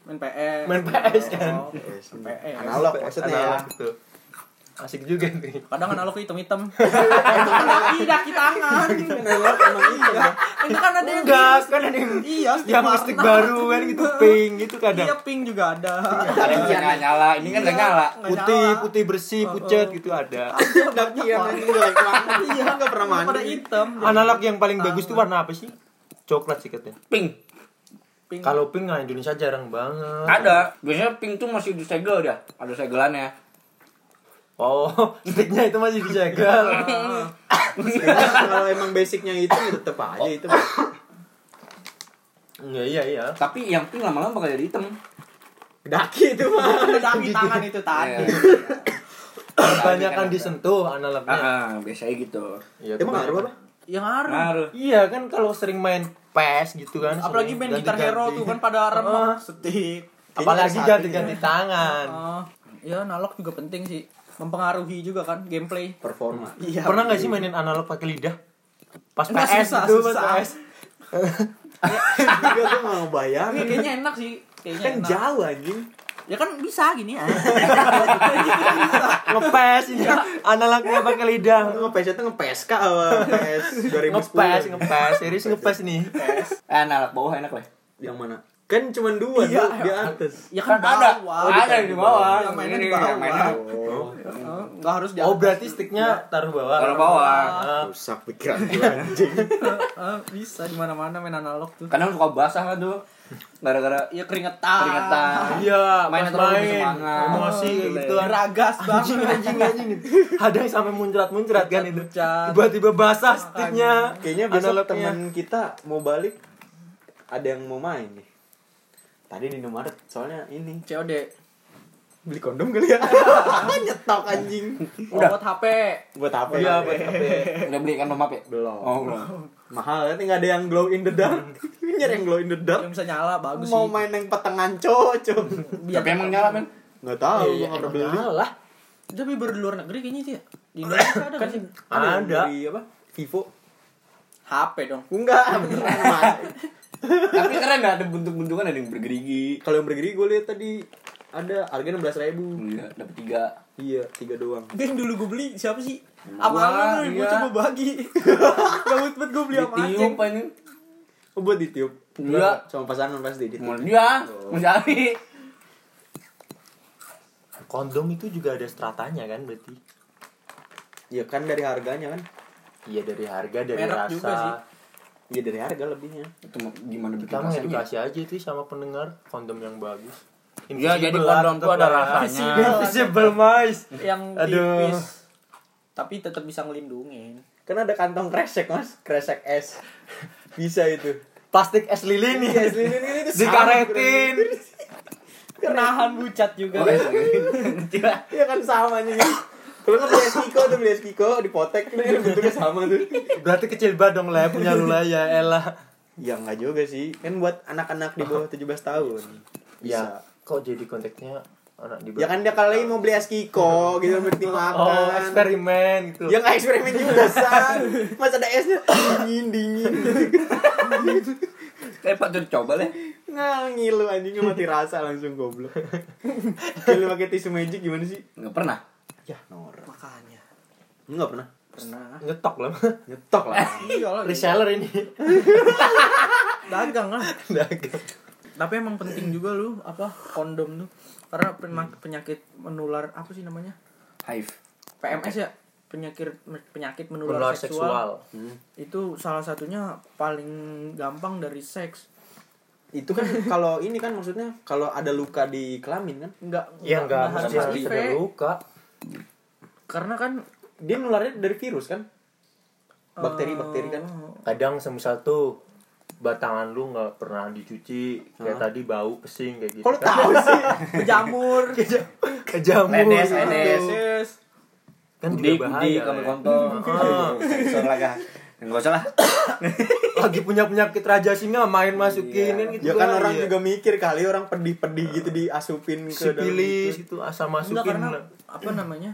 Main PS.
main PS
Oh,
kan.
main PS.
Eh, Analog maksudnya ya.
Analog tuh. Asik juga nih.
Kadang analog hitam-hitam. itu kan kaki daki tangan.
Analog emang iya.
Itu kan ada yang
Enggak, kan ada yang
Iya,
yang
warna.
listrik baru kan gitu pink gitu
Iya,
kadang.
pink juga ada.
Ada yang nggak nyala, ini kan nggak nyala.
Nggak
Putih,
nyala.
putih bersih, pucat gitu ada.
Daki yang anjing ya, jelek banget. Iya, enggak Iya, pernah mandi.
Pada hitam.
Analog yang paling bagus tuh warna apa sih? Coklat sih katanya.
Pink.
Pink.
Kalau pink nah Indonesia jarang banget.
Ada. Biasanya pink tuh masih disegel dah. Ada segelannya.
Oh, sticknya itu masih dijagal.
Kalau emang basicnya itu ya tetep aja itu.
Iya iya iya.
Tapi yang pink lama-lama bakal jadi hitam.
Daki itu mah.
Ada daki tangan itu
Iya.
tadi.
Kebanyakan disentuh analognya.
Ah, ah, biasanya gitu.
Iya.
Emang ngaruh apa?
Yang harum.
Ngaruh.
Iya kan kalau sering main PES gitu kan.
Apalagi
sering
main gitar
ganti-ganti.
hero tuh kan pada
Ah.
remuk setik.
Apalagi
Kayaknya ya.
ganti-ganti tangan.
Oh, ya analog juga penting sih. Mempengaruhi juga kan gameplay.
Performa.
Iya.
Pernah nggak sih mainin analog pakai lidah? Pas
Enggak,
PS
susah,
gitu,
susah.
pas PS.
Juga gue mau
Iya,
bayangin.
kayaknya enak sih. Kayaknya
Kan
enak.
jauh anjing.
Ya kan bisa gini ya.
Ngepes ini analognya pakai lidah.
Ngepes itu ngepes kak apa? PS
Ngepes,
2010.
ngepes, serius ngepes nih.
Eh, anak bawah enak lah.
Yang mana? Kan cuma dua
Iya,
di atas.
ya
Kan
kan
ada.
bawah.
Ada yang di bawah.
Yang mainnya
Ini,
di bawah.
yang mainnya.
Oh,
Oh, Nggak harus di
Oh
atas.
berarti sticknya taruh bawah.
Taruh bawah.
Ah,
rusak pikiran gue anjing.
Ah, bisa di mana-mana main analog tuh.
Kadang suka basah kan tuh. Gara-gara
Ya keringetan.
keringetan.
Iya,
Main
main
terlalu
main,
bersemangat.
emosi kayak
Boleh.
gitu.
Geragas
Anjing
banget.
anjing anjing. Ada yang sampai muncrat-muncrat kan itu.
Muncrat.
Tiba-tiba basah sticknya.
Kayaknya besok
Analognya.
teman kita mau balik ada yang mau main nih. Tadi di Indomaret soalnya ini
COD.
beli kondom kali ya nyetok anjing
Udah. Buat HP.
buat apa
Iya, buat HP.
Udah beli kan nomap ya?
belum
Oh, belum.
mahal ya nggak ada yang glow in the dark nyari yang glow in the dark
Yang bisa nyala bagus
mau
sih.
main yang petengan cocok
Biar-
Tapi emang nyala men?
nggak tahu
Iya,
nggak pernah
emang
beli
nyala.
Tapi baru di luar negeri kayaknya sih. ya. Di Indonesia ada kan sih?
yang
Ada.
dari apa Vivo
HP dong.
enggak beneran, Mas.
Tapi keren dah ada bentuk-bentukan ada yang bergerigi.
kalau yang bergeri gue lihat tadi ada harganya enam belas ribu
Enggak, dapat tiga.
iya tiga doang
Dia yang dulu gue beli siapa sih?
Gua,
Apa lu? Gue
iya.
coba bagi. Gabut banget gue beli sama anjing.
Ditiup apa ini?
oh, buat ditiup
Iya.
sama pasangan pasti ditiup
Mau dia,
Oh.
mau cari.
Kondom itu juga ada stratanya kan berarti.
iya kan dari harganya kan
Iya dari harga, dari
Merek
rasa.
juga sih.
iya dari harga lebihnya
Itu mau- gimana bikin
Kita
rasanya?
mengedukasi aja sih sama pendengar kondom yang bagus.
Iya, jadi
Invisible lah,
kondom
tentu
tuh
ada
ada
rasanya.
rasanya.
Invisible mice.
Yang
Aduh.
tipis. Tapi tetap bisa ngelindungin.
kan ada kantong kresek mas kresek es bisa itu
Plastik es lilin
Iya, es lilin ini tuh
Dikaretin.
Kenahan bucat juga.
Oh, iya, iya. Kecil lah.
Iya kan sama anjing. Kalau nggak beli es Kiko tuh beli es Kiko dipotek kan bentuknya sama tuh.
Berarti kecil banget dong lah punya lu lah ya elah.
Ya nggak juga sih. Kan buat anak-anak di bawah 17 tahun.
Ya,
Bisa.
kok jadi konteksnya anak di
Ya kan dia kali mau beli es Kiko gitu mesti
Oh,
makan.
eksperimen gitu.
Ya nggak eksperimen juga san. Mas ada esnya dingin dingin.
Kayak patut coba lah.
Nggak ngilu anjingnya mati rasa langsung goblok. Kalau pakai tisu magic gimana sih?
Enggak pernah.
Ya norak.
Makanya.
Nggak pernah.
Pernah.
Nyetok lah.
Nyetok lah.
Iya lah.
Reseller ini.
Dagang lah.
Dagang.
tapi emang penting juga lu apa kondom tuh karena pena- penyakit menular apa sih namanya
Hive.
PMS ya penyakit penyakit menular,
Menular
seksual,
seksual.
itu salah satunya paling gampang dari seks
Itu kan kalau ini kan maksudnya kalau ada luka di kelamin kan
nggak
Ya enggak,
nggak
harus
harus
harus
HIV.
ada luka.
karena kan
dia nularnya dari virus kan bakteri bakteri kan
Kadang semisal tuh batangan lu nggak pernah dicuci kayak tadi bau pesing kayak gitu
kalau tahu sih
jamur
Keja- kejamur
Ledes,
gitu.
ledes.
kan
Gudik,
juga bahaya
gudik, kamu
Le.
kontol. Ah. Sensor lah kah? Enggak usah lah.
lagi punya penyakit raja singa main masukin
Iya.
gitu
ya kan
bahaya.
orang juga mikir kali orang pedih pedih gitu diasupin ke dalam gitu.
sipilis
itu.
itu asam
enggak
masukin
karena
Le.
apa namanya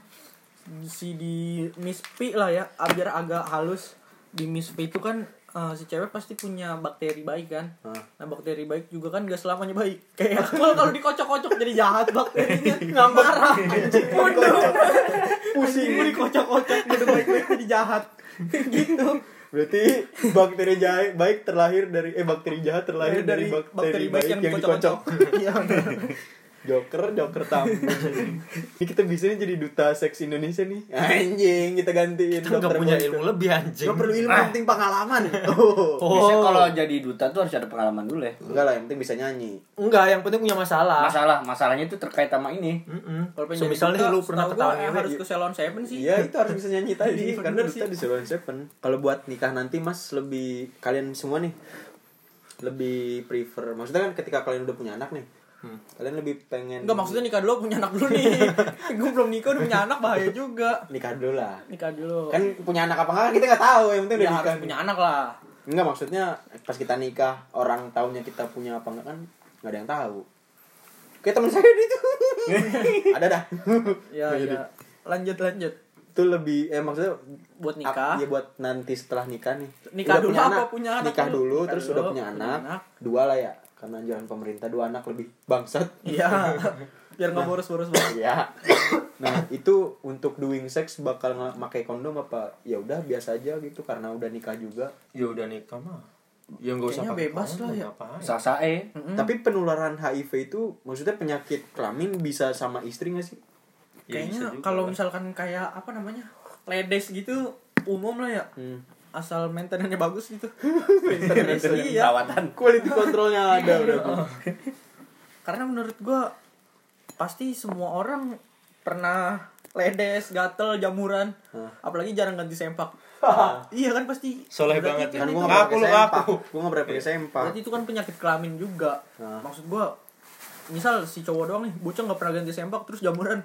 si di Miss P lah ya biar agak halus di Miss P itu kan eh, si cewek pasti punya bakteri baik kan
Hah.
nah bakteri baik juga kan gak selamanya baik kayak Akmal kalau dikocok-kocok jadi jahat bakterinya
Ngambek.
marah
Iya. pusing
pusing dikocok-kocok jadi baik-baik jadi jahat gitu
berarti bakteri jahat baik terlahir dari eh bakteri jahat terlahir dari, bakteri, baik, yang, dikocok
iya bener.
joker joker tamu ini kita bisa nih jadi duta seks Indonesia nih anjing kita gantiin
Kita nggak
dokter
punya
Boyko.
ilmu Ah. lebih anjing
nggak perlu ilmu yang penting pengalaman oh.
Biasanya kalau jadi duta tuh harus ada pengalaman dulu ya.
enggak lah yang penting bisa nyanyi
enggak yang penting punya masalah
Masalah, masalahnya itu terkait sama ini.
Mm-mm.
kalau pengen
semisal
jadi
nih
duta,
lu pernah gitu.
setahu gua,
ketahuan ya,
eh,
ngewe,
harus ke salon seven sih
Iya itu harus bisa nyanyi tadi
Iya,
karena
bener
kita
sih.
di Salon Seven. Kalau buat nikah nanti mas lebih kalian semua nih lebih prefer maksudnya kan ketika kalian udah punya anak nih kalian lebih pengen
Enggak Hmm. maksudnya nikah dulu punya anak dulu nih Gue belum nikah udah punya anak bahaya juga
nikah dulu lah
Nikah dulu
kan punya anak apa enggak kan kita nggak tahu yang penting udah
Ya
nikah
harus punya anak lah
enggak maksudnya pas kita nikah orang tahunya kita punya apa enggak kan nggak ada yang tahu kayak teman saya itu ada dah
Ya,
Nggak Iya, jadi.
ya. Lanjut lanjut.
itu lebih eh maksudnya
Buat
Ah,
nikah.
Iya buat nanti setelah nikah nih.
Nikah dulu apa punya anak
Nikah
dulu?
dulu
Nikah
terus
dulu,
udah punya
punya
anak.
anak.
Dua lah ya. Karena jalan pemerintah dua anak lebih bangsat.
Iya. Biar
Nah.
nggak boros-boros banget.
Iya. nah, itu untuk doing sex bakal nggak pakai kondom apa? Ya udah biasa aja gitu karena udah nikah juga.
ya udah nikah mah ya nggak usah
Kayaknya
pakai
bebas
kondom,
lah ya.
ngapain.
Sasa eh.
Tapi penularan HIV itu maksudnya penyakit kelamin bisa sama istri nggak sih?
Ya,
Kayaknya
bisa juga.
kalau misalkan kayak apa namanya? Ledes gitu umum lah ya.
Hmm.
Asal maintenance bagus gitu.
Maintenance-nya.
iya.
Perawatan.
Quality controlnya ada udah.
Karena menurut gua pasti semua orang pernah ledes, gatel, jamuran.
Hah.
Apalagi jarang ganti sempak. iya kan pasti.
Soleh
Berarti
banget
kan
ya.
kan
itu
gua nggak
Ngaku
pakai
lu,
sempak.
Iya.
ngaku.
Gua nggak pernah pakai sempak.
Berarti itu kan penyakit kelamin juga.
Nah.
Maksud gua misal si cowok doang nih bocah nggak pernah ganti sempak terus jamuran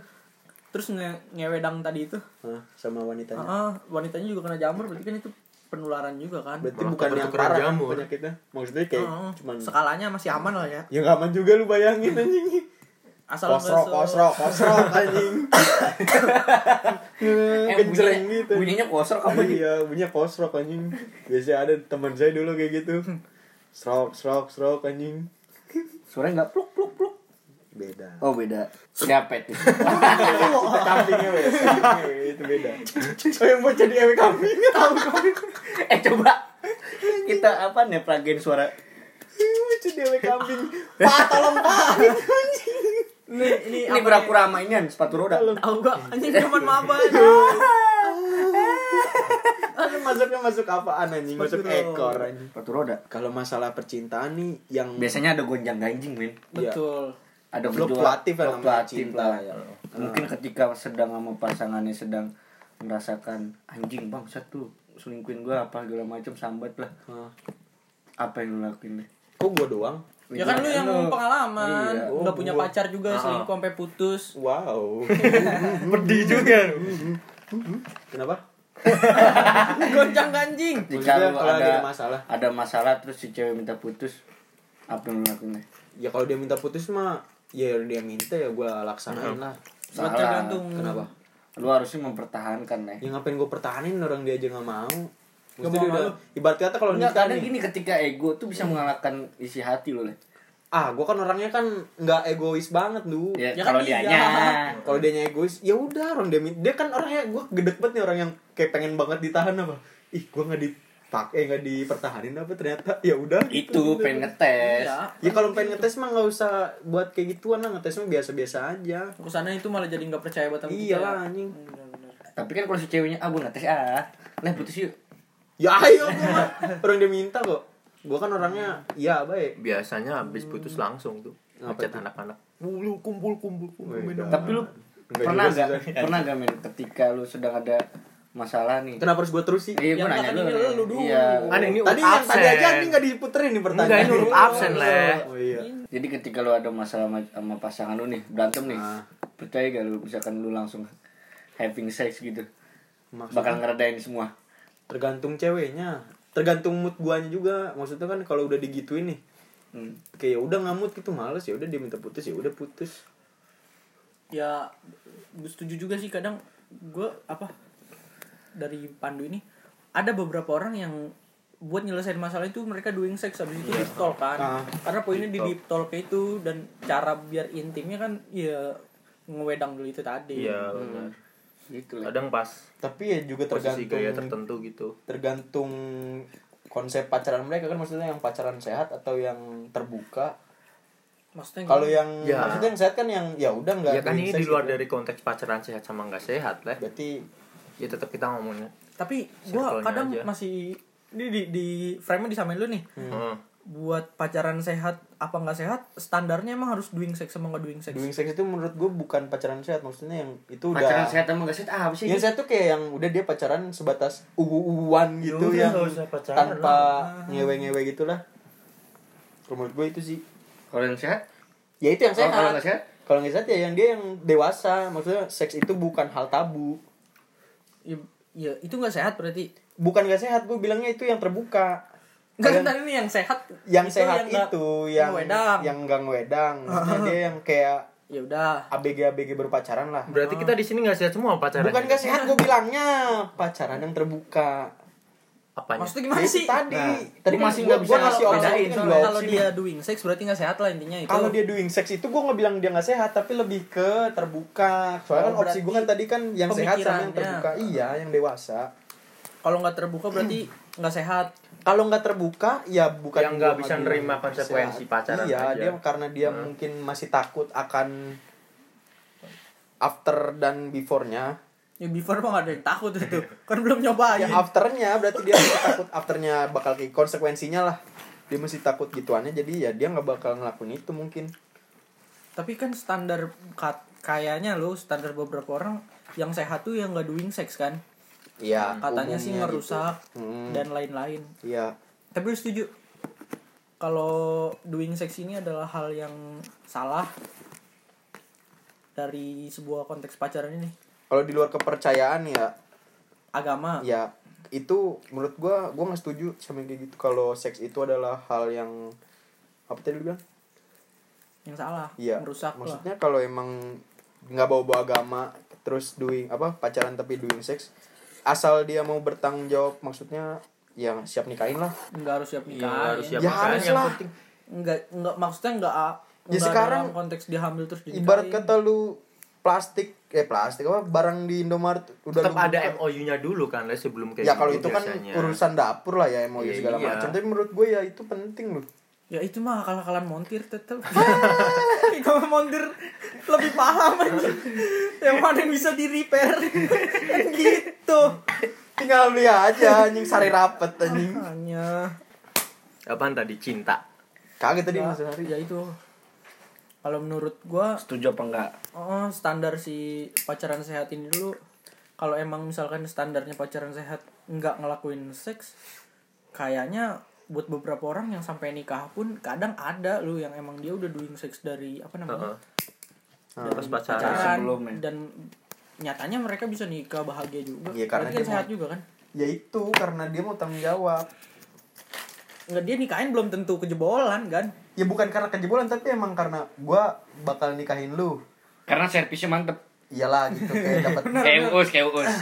terus nge ngewedang tadi itu
Hah, sama wanitanya.
Ah, ah, wanitanya juga kena jamur berarti kan itu penularan juga kan
Berarti
Malah
bukan yang
tuker-tukeran
parah kan
jamur.
penyakitnya. Maksudnya kayak
Ah, ah.
cuman
skalanya masih aman lah ya
ya nggak aman juga lu bayangin anjing.
asal nggak
Kosro,
se-
kosro, kosro anjing. Genjreng gitu.
Eh, Bunyinya kosong apa gitu? nih?
Iya, punya kosro anjing. Biasanya ada teman saya dulu kayak gitu. Srok, srok, srok anjing.
Suaranya nggak pluk pluk pluk.
Beda.
Oh beda. Siapa itu?
Itu
Iya,
kambingnya wes. Kambingnya, itu beda. Oh, yang mau jadi ewe kambing tahu kambing.
eh coba kita apa nih plugin suara?
Mau jadi ewe kambing. Pak, tolong Pak.
ini ini,
Ini pura-pura mainan sepatu roda.
tahu gak anjing cuman maba
Iya. Aduh, masuknya masuk apaan anjing? Masuk
Betul.
ekor anjing.
Sepatu roda.
Kalau masalah percintaan nih yang
Biasanya ada gonjang ganjing men.
Iya.
betul
Ada
Fluktuatif ya namanya
fluktuatif
cinta
lah.
ya.
Mungkin ketika sedang sama pasangannya sedang merasakan anjing bang satu selingkuhin gua apa segala macam sambat lah
Hah.
apa yang lu lakuin deh
Kok gua doang?
ya kan lu yang pengalaman
Iya.
nggak punya
Oh, gua.
pacar juga selingkuh sampai putus
Wow.
pedih juga
Kenapa?
goncang ganjing
jika
Maksudnya
lu
kalau lagi
ada
ada masalah.
ada masalah terus si cewek minta putus apa yang lu lakuin deh
Ya kalau dia minta putus mah ya dia minta ya gua laksanain lah.
buat
Salah.
tergantung
Kenapa?
lu harusnya mempertahankan nih
Ya ngapain gua pertahanin orang dia aja nggak mau. Maksudnya
mau
dia
sama
udah, ibarat kata kalau Iya.
Enggak,
nikah
kadang
nih,
gini ketika ego tuh bisa mengalahkan isi hati lo leh.
ah gua kan orangnya kan nggak egois banget lu.
Ya,
Ya
kalau
kan
dia
iya.
nya
Kalau dia egois, ya udah orang dia min- dia kan orangnya gua gedek banget nih orang yang kayak pengen banget ditahan apa. Ih, gua nggak dipakai, nggak dipertahanin apa ternyata. Ya udah
itu pengen ngetes.
Iya.
Ya kalau pengen ngetes mah nggak usah buat kayak gituan lah ngetes mah biasa-biasa aja.
kesana itu malah jadi nggak percaya buat sama
Iya
kita.
lah anjing.
Bener-bener.
Tapi kan kalau si ceweknya ah gua ngetes ah. Nah, putus yuk.
Ya ayo gua mah. Orang dia minta kok. Gua kan orangnya iya baik.
biasanya habis putus langsung tuh
Apa
ngechat
itu?
anak-anak
Mulu kumpul kumpul kumpul.
minum.
Tapi lu
Enggak
pernah
juga sih,
enggak pernah enggak men ketika lu sedang ada masalah nih?
kenapa harus gua terus sih?
Iya,
Ya,
gua nanya
kan
lu.
ini
Nih.
lu dulu.
Iya.
Kan ini
tadi yang
urut
tadi
absen.
aja ini enggak diputerin nih pertanyaan.
Enggak, ini urut absen, Leh.
Oh iya.
Jadi ketika lu ada masalah ma- sama pasangan lu nih, berantem nih.
Ah.
Percaya gak lu misalkan lu langsung having sex gitu?
Maksudnya?
Bakal ngeredain semua.
Tergantung ceweknya. Tergantung mood guanya juga. Maksudnya kan kalau udah digituin nih
Hmm.
kayak ya udah ngamut gitu males ya udah dia minta putus ya udah putus
ya gue setuju juga sih kadang gue apa dari Pandu ini ada beberapa orang yang buat nyelesain masalah itu mereka doing sex habis itu
Iya.
deep talk kan
Ah,
karena poinnya di deep talk itu dan cara biar intimnya kan ya ngewedang dulu itu tadi
iya benar
Gitu lah.
kadang pas
tapi ya juga
posisi
tergantung
gaya tertentu gitu
tergantung konsep pacaran mereka kan maksudnya yang pacaran sehat atau yang terbuka
maksudnya
kalau yang
Ya.
maksudnya yang sehat kan yang ya udah nggak
ya kan
doing
ini
sex
di luar
gitu.
dari konteks pacaran sehat sama nggak sehat lah
berarti
ya tetap kita ngomongnya
tapi gue
Circle-nya
kadang
aja.
masih ini di di frame nya disamain lu nih
Hmm.
buat pacaran sehat apa nggak sehat standarnya emang harus doing sex sama nggak doing sex
doing sex itu menurut gue bukan pacaran sehat maksudnya yang itu udah Iya,
Pacaran sehat sama gak sehat ah, apa sih?
yang sehat tuh kayak yang udah dia pacaran sebatas ubu-ubuan gitu
Ya udah,
yang
nggak usah pacaran
tanpa ngewe-ngewe gitulah menurut gue itu sih
Kalau yang sehat
ya itu yang
Kalau-
sehat
kalau nggak sehat?
kalau nggak sehat ya yang dia yang dewasa maksudnya seks itu bukan hal tabu
ya, ya itu nggak sehat berarti
bukan nggak sehat gue bilangnya itu yang terbuka Yang-
Enggak, tadi ini yang sehat.
yang
Itu
sehat
nggak-
itu yang
wedang.
yang gang wedang maksudnya dia yang kayak
Ya udah.
abg abg berpacaran lah
berarti kita di sini nggak sehat semua ya? pacaran
bukan gak sehat gue bilangnya pacaran yang terbuka
apanya
Maksudnya
Ya,
gimana
itu
sih?
tadi
Nah,
tadi
gua
kan
masih
gua-
nggak
gua
bisa
ngasih opsi
bedain
kan
soal
dua
Kalau
opsi
dia doing sex berarti nggak sehat lah intinya
nih.
itu.
kalau dia doing sex itu gue nggak bilang dia nggak sehat tapi lebih ke terbuka soalnya kan
Oh,
opsi
berarti
gue kan tadi kan yang sehat sama yang
pemikirannya.
terbuka iya yang dewasa
kalau nggak terbuka berarti nggak sehat.
kalau nggak terbuka ya bukan
Yang nggak
gua
bisa
bilang
nerima konsekuensi
sehat.
pacaran
iya
aja. Hmm.
dia karena dia mungkin masih takut akan after dan before-nya
Ya before mah nggak ada yang takut itu. Kan belum nyobain.
ya afternya berarti dia masih takut afternya bakal kayak konsekuensinya lah dia masih takut gituannya jadi ya dia nggak bakal ngelakuin itu mungkin
Tapi kan standar kat- kayaknya lo standar beberapa orang yang sehat tuh yang nggak doing sex kan.
Iya
Katanya sih
umumnya
ngerusak
gitu. Hmm.
dan lain-lain.
iya
Tapi lu setuju? kalau doing sex ini adalah hal yang salah dari sebuah konteks pacaran ini
Kalau di luar kepercayaan ya
agama
ya itu menurut gua gua nggak setuju sama yang kayak gitu kalau seks itu adalah hal yang apa tadi lu bilang
yang salah
Iya.
merusak lah
maksudnya kalau emang nggak bawa-bawa agama terus doing apa pacaran tapi doing sex asal dia mau bertanggung jawab maksudnya yang siap nikahin lah
nggak harus siap
Iya,
nikah
harus siap
ya
makanya
harus
yang
lah
penting.
nggak nggak maksudnya nggak nggak
Ya, sekarang
dalam konteks dia hamil terus dinikahin.
ibarat kata lu plastik eh plastik apa barang di Indomaret udah
tetap
lu
ada
buka.
MOU-nya dulu kan Les, sebelum kayak
ya kalau itu
gitu
kan
biasanya.
urusan dapur lah ya MOU
Iya,
segala
iya.
macam tapi menurut gue ya itu penting loh
ya itu mah akal-akalan montir tetep kalau montir lebih paham aja yang mana yang bisa di repair gitu
tinggal beli aja anjing sari rapet anjing
hanya
Apaan tadi cinta?
kaget tadi
Iya.
ya,
mas hari
ya itu kalau menurut gua
Setuju apa enggak?
oh, standar si pacaran sehat ini dulu kalau emang misalkan standarnya pacaran sehat nggak ngelakuin seks kayaknya buat beberapa orang yang sampai nikah pun kadang ada lu yang emang dia udah doing seks dari apa namanya
Heeh. Terus pacaran.
pacaran
ya.
sebelumnya.
dan nyatanya mereka bisa nikah bahagia juga
Iya, karena
Berarti kan
dia
sehat
mau-
juga kan
ya itu karena dia mau tanggung jawab
nggak dia nikahin belum tentu kejebolan kan
ya bukan karena kejebolan tapi emang karena gua bakal nikahin lu
Karena servisnya mantep.
iyalah gitu kayak dapat
Kayak uus, kayak uus.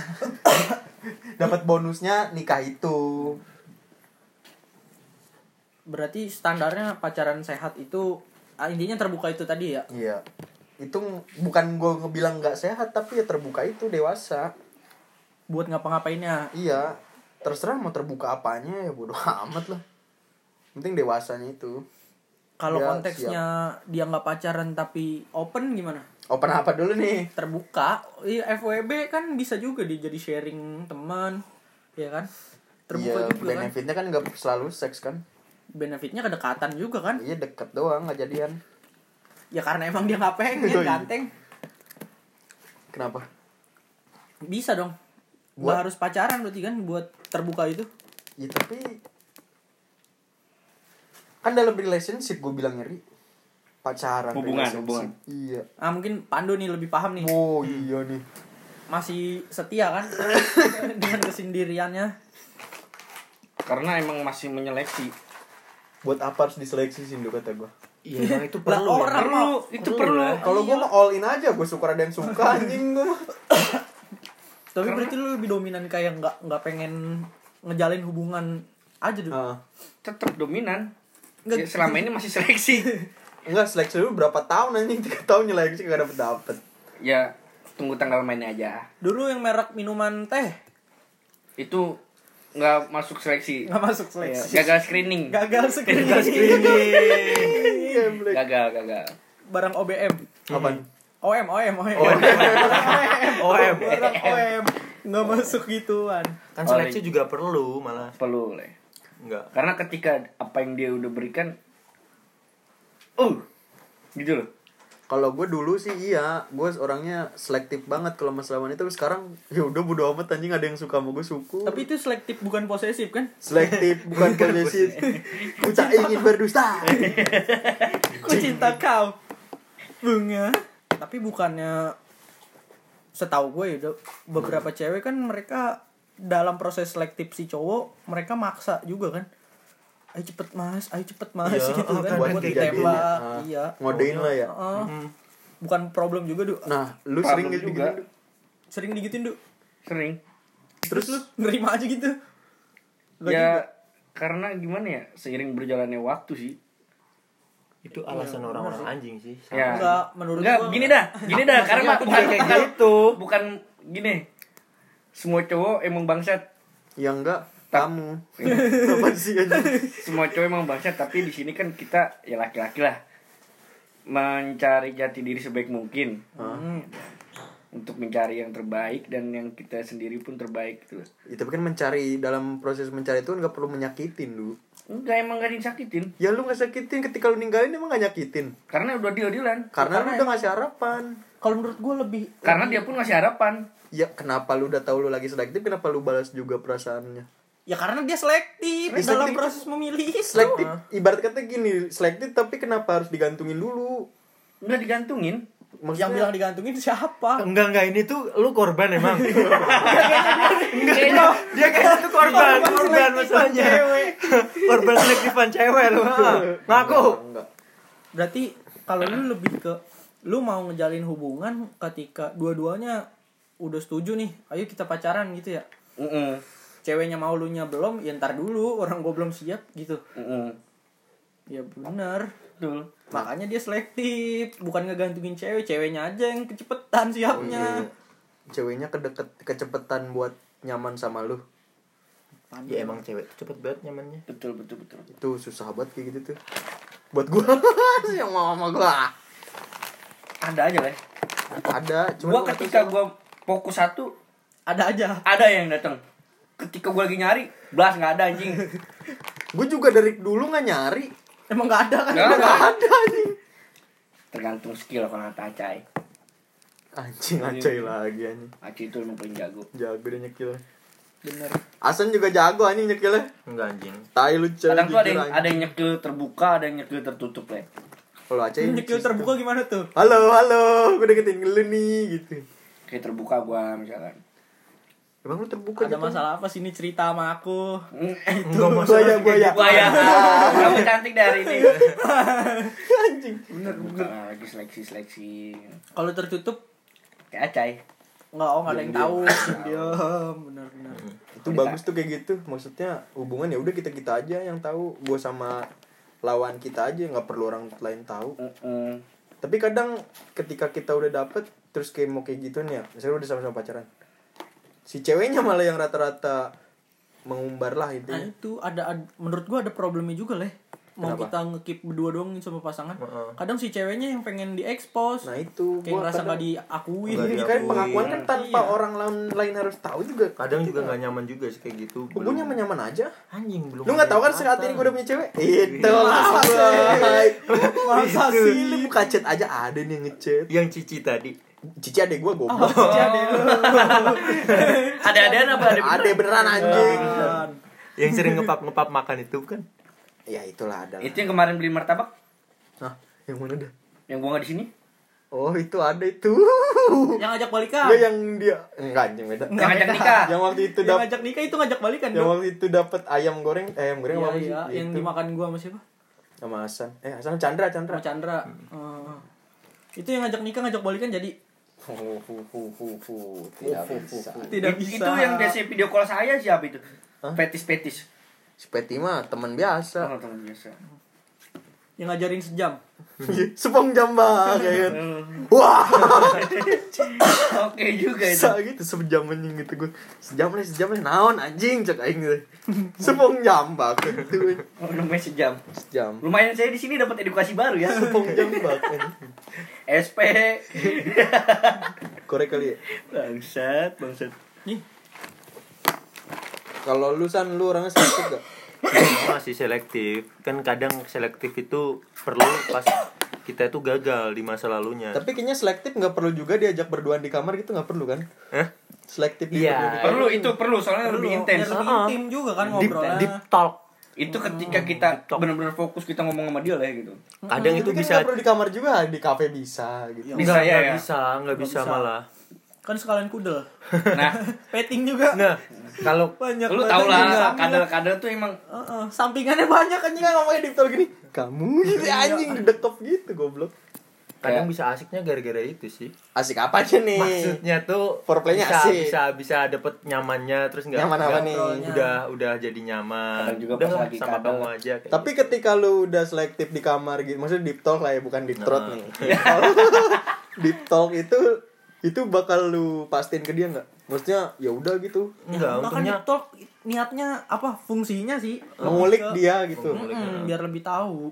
dapat bonusnya nikah itu
berarti standarnya pacaran sehat itu ah, intinya terbuka itu tadi ya
iya itu bukan gua ngebilang nggak sehat tapi ya terbuka itu dewasa
buat ngapa-ngapainnya
iya terserah mau terbuka apanya ya bodoh amat lah penting dewasanya itu
kalau
Ya,
konteksnya dia nggak pacaran tapi open gimana
open apa dulu nih
terbuka iya FWB kan bisa juga dia jadi sharing teman ya kan terbuka
Iya,
juga kan
benefitnya kan nggak selalu seks kan
benefitnya kedekatan juga kan
iya deket doang nggak jadian
ya karena emang dia nggak pengen
Yoi.
ganteng
kenapa
bisa dong nggak
Buat-
harus pacaran berarti kan buat terbuka itu
ya tapi kan dalam relationship gue bilang nyeri pacaran
Hubungan,
relationship.
hubungan.
iya
ah mungkin Pandu nih lebih paham nih
oh iya nih
masih setia kan dengan kesendiriannya
Karena emang masih menyeleksi.
buat apa harus diseleksi sih dulu kata gue
Iya, emang itu
Lah,
perlu. ya.
orang mah
itu perlu.
kalau gue mah all in aja gue suka ada yang suka anjing gue mah
tapi berarti lu lebih dominan kayak nggak nggak pengen ngejalin hubungan aja dulu
Ah.
Tetap dominan.
Nggak-
Ya, selama ini masih seleksi.
enggak seleksi dulu berapa tahun anjing tiga tahun nyeleksi gak dapet dapet
ya tunggu tanggal mainnya aja.
dulu yang merek minuman teh
Itu nggak masuk seleksi.
nggak masuk
Ya,
seleksi
gagal screening.
Iya. gagal sekali
iya Blake.
Gagal, gagal.
barang OBM
apaan
OM OM OM
OM.
barang OM nggak masuk gituan
Kan seleksi juga perlu malah.
Perlu, Le.
Enggak.
Karena ketika apa yang dia udah berikan uh gitu loh.
kalau gue dulu sih iya gue orangnya selektif banget kalau masalah wanita tapi sekarang ya udah bodo amat anjing ada yang suka sama gue syukur
tapi itu selektif bukan posesif kan
selektif bukan posesif ku tak ingin berdusta
Ku cinta kau Bunga Tapi bukannya Setahu gue ya Dok, Beberapa cewek kan mereka Dalam proses selektif si cowok Mereka maksa juga kan Ayo cepet mas, ayo cepet mas
Iya,
gitu kan
kan,
Buat,
kan kayak
ditembak
gitu ya. Ah.
Iya
ngodein lah ya
Heeh. Bukan problem juga du
nah lu
Problem
sering gitu
juga.
gitu
Sering digitin du
Sering.
terus lu
Nerima aja gitu Gak
ya karena gimana ya seiring berjalannya waktu sih.
Itu
Iya,
alasan orang-orang anjing sih.
Ya.
Enggak, menurut
Enggak,
gua-
gini dah. Gini dah, karena
Maksudnya
aku bukan
bukan
kayak
kayak
gitu. Bukan gini. Semua cowok emang bangsat.
ya enggak kamu apa sih anjing?
Semua cowok emang bangsat, tapi di sini kan kita ya laki-laki lah mencari jati diri sebaik mungkin
Hmm.
untuk mencari yang terbaik dan yang kita sendiri pun terbaik gitu loh.
ya, tapi kan mencari dalam proses mencari itu kan nggak perlu menyakitin lu
Enggak emang gak ada yang sakitin
ya lu nggak sakitin ketika lu ninggalin emang nggak nyakitin
Karena udah deal-dealan
karena, lu udah ngasih harapan
Kalau menurut gue lebih
Karena dia pun ngasih harapan
Oh,
ya kenapa lu udah tahu lu lagi selektif kenapa lu balas juga perasaannya
Ya karena dia selektif,
Selektif.
dalam proses memilih.
selektif
ah.
ibarat kata gini selektif tapi kenapa harus digantungin dulu
Udah digantungin.
Yang bilang digantungin siapa?
Enggak enggak ini tuh lu korban emang. enggak dia, dia kayak itu korban, korban masalahnya. korban selektifan cewek lu. ah. Ngaku.
enggak
Berarti kalau lu lebih ke lu mau ngejalin hubungan ketika dua-duanya udah setuju nih, ayo kita pacaran gitu ya.
Heeh.
Ceweknya mau lu nya belum, ya ntar dulu orang gua belum siap gitu. Ya benar.
Betul.
Makanya dia selektif, bukan ngegantungin cewek, ceweknya aja yang kecepetan siapnya.
ceweknya kedeket kecepetan buat nyaman sama lu
Ya emang cewek tuh cepet banget nyamannya.
Betul betul betul.
itu susah banget kayak gitu tuh buat gua yang mau sama gua
Ada aja kan.
ada
Gua
cuma ya?
ketika gua fokus satu
Ada aja.
ada yang datang. Ketika gua lagi nyari, belas nggak ada anjing.
gua juga dari dulu nggak nyari
Emang nggak ada kan?
Nggak ada.
nggak ada anjing
Tergantung skill kalau kata Acai.
anjing acai lagi anjing
Acai itu emang paling jago.
jago dia nyekil
Bener.
Asan juga jago anjing nyekilnya
Enggak anjing.
tai lu cewek
Kadang tuh ada
jujur,
yang,
anjing.
ada yang nyekil terbuka, ada yang nyekil tertutup ya.
kalau acai
Nyekil terbuka gimana tuh?
halo halo gua deketin lu nih gitu
Kayak terbuka gua misalkan.
emang lu terbuka
Ada
gitu?
masalah apa sih ini cerita sama aku?
Enggak
buaya buaya
Buaya. Kamu cantik dari ini. gitu.
anjing
Terbuka lagi seleksi seleksi.
Kalau tertutup
Kayak Acai.
nggak oh nggak ada yang tahu. Diam, benar-benar.
itu bagus tuh kayak gitu maksudnya hubungan ya udah kita kita aja yang tahu gua sama lawan kita aja nggak perlu orang lain tahu
Mm-mm.
tapi kadang ketika kita udah dapet terus kayak mau kayak gitu nih ya misalnya udah sama-sama pacaran si ceweknya malah yang rata-rata mengumbar lah
Nah
intinya
itu ada, ad- menurut gua ada problemnya juga leh. Mau
Kenapa?
kita ngekip berdua doang sama pasangan. Kadang si ceweknya yang pengen diekspos.
nah itu
kayak
gua
ngerasa
kadang-
nggak diakuin.
Nggak
Ini
diakui.
kan pengakuan kan tanpa
Iya.
orang lain, lain harus tahu juga
Kadang juga nggak nyaman juga sih kayak gitu.
hubungannya
Belum-
nyaman aja
anjing belum. Iya.
lu nggak tahu kan saat ini gue udah punya cewek itu lah masa sih lu buka chat aja ada nih yang ngechat
yang cici tadi.
cici adek gue
Oh,
goblok
Jadi lu.
Ada ada apa ada?
ada beneran
Iya.
anjing
Kan.
Yang sering ngepap-ngepap makan itu kan.
ya itulah ada lah.
Itu yang kemarin beli martabak
Hah, yang mana dah
yang gua nggak di sini.
oh itu ada itu
yang ngajak balikan.
ya yang dia enggak anjing beda
Yang ngajak nikah.
yang waktu itu
yang
dapat
ngajak nikah itu ngajak balikan.
yang
Dok.
waktu itu dapat ayam goreng eh, ayam goreng
Iya,
apa sih? gitu.
iya, yang
Itu.
dimakan gua sama siapa?
sama Hasan eh Hasan Chandra Chandra
Sama Chandra. Eh, Itu yang ngajak nikah ngajak balikan jadi
Hu, hu, hu, hu, hu. tidak bisa
tidak
Itu-
bisa.
Itu yang biasa video call saya siapa itu? Petis-petis.
si Peti mah teman biasa
Oh, teman biasa.
yang ngajarin sejam.
Sepong jambak kayak gitu. Wah,
Oke juga itu.
bisa gitu sejam anjing gitu gue. Sejam nih, sejam nih naon anjing cek aing gitu. Sepong jambak gitu.
Oh, namanya sejam.
Sejam.
Lumayan saya di sini dapat edukasi baru ya.
Sepong jambak. anjing.
SP.
Korek kali ya.
bangsat, bangsat.
Nih,
Kalau lu san lu orangnya sakit gak?
masih selektif kan kadang selektif itu perlu pas kita itu gagal di masa lalunya
Tapi kayaknya selektif nggak perlu juga diajak berduaan di kamar gitu nggak perlu kan?
Hah?
Selektif di
Iya.
berdua di kamar.
Perlu itu perlu soalnya lebih intens.
Biar lebih intim juga kan
deep,
ngobrolnya.
deep talk
Itu ketika kita benar-benar fokus kita ngomong sama dia lah ya gitu.
kadang
Tapi
itu
kan
bisa
nggak perlu di kamar juga di kafe bisa gitu.
Bisa
Nggak-
ya,
nggak
ya?
bisa nggak bisa
bisa.
malah
Kan sekalian kudel.
Nah,
Petting juga.
nah kalau
Banyak
lu
banget
tau
Ya, yang
lah
ngambil.
kadal-kadal tuh emang
Heeh, sampingannya banyak kan
Anjing kan ngomongnya deep talk gini. Kamu gitu anjing didekep gitu goblok.
kadang bisa asiknya gara-gara itu sih
Asik apa aja nih?
maksudnya tuh
Foreplaynya
bisa,
asik.
bisa bisa dapet nyamannya terus nggak
Nyaman apa
nggak-
nih?
udah udah jadi nyaman
Kadang juga
udah
pas
lah,
lagi
sama
kadal.
kamu aja kayak gitu.
Tapi ketika lu udah selektif di kamar gitu, maksudnya deep talk lah ya, bukan deep throat
Nah.
nih. deep talk itu itu bakal lu pastiin ke dia nggak? Maksudnya ya udah gitu,
Bahkan
enggak untungnya
deep talk niatnya apa fungsinya sih?
ngulik
Ke-
dia gitu.
Ngulik.
Mm, biar lebih tahu.